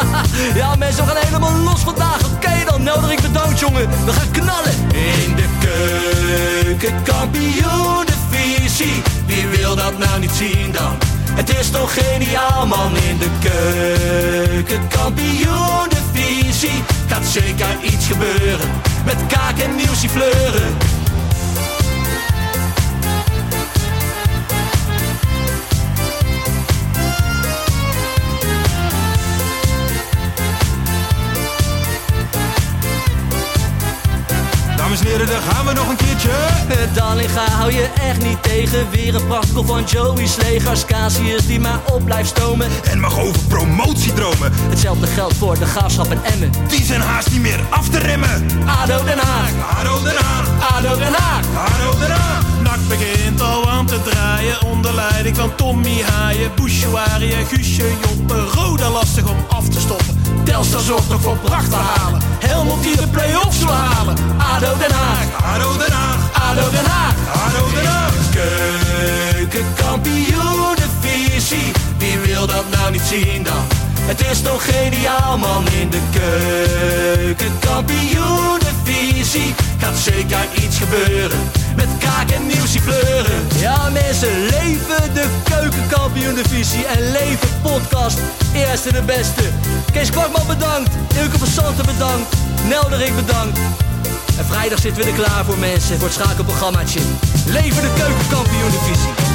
Ja, mensen, we gaan helemaal los vandaag. Oké, dan nodig ik bedankt, jongen. We gaan knallen. In de keuken, kampioen, de visie. Wie wil dat nou niet zien dan? Het is toch geniaal, man. In de keuken, kampioen, de visie. Gaat zeker iets gebeuren. Met kaak en nieuwsie fleuren. Dames en heren, gebeuren, daar gaan we nog een keertje. Eh, Dallinga hou je echt niet tegen. Weer een prachtkel van Joey's legers. Casius die maar op blijft stomen. En mag over promotiedromen. Hetzelfde geldt voor de graafschap en Emmen. Die zijn haast niet meer af te remmen. ADO Den Haag, Haro Den Haag, ADO Den Haag. Haro Den Haag. Nak begint al aan te draaien onder leiding van Tommy Haaien, Bouchouari en Guusje Joppen. Roda lastig om af te stoppen. Telstar zorgt nog voor pracht te halen. Helmond die de play-offs wil halen. ADO Den Haag, Haro Den Haag, ADO Den Haag. Haro Den Haag. Keukenkampioenenvisie, wie wil dat nou niet zien dan? Het is toch geniaal man in de keukenkampioenenvisie. Gaat zeker iets gebeuren, met kaak en nieuwsie pleuren. Ja mensen, leven de keukenkampioenenvisie en leven podcast. Eerste de beste. Kees Kwakman bedankt, Ilke van Santen bedankt, Nelderik bedankt. En vrijdag zitten we er klaar voor mensen, voor het schakelprogrammaatje. Leven de keukenkampioen divisie.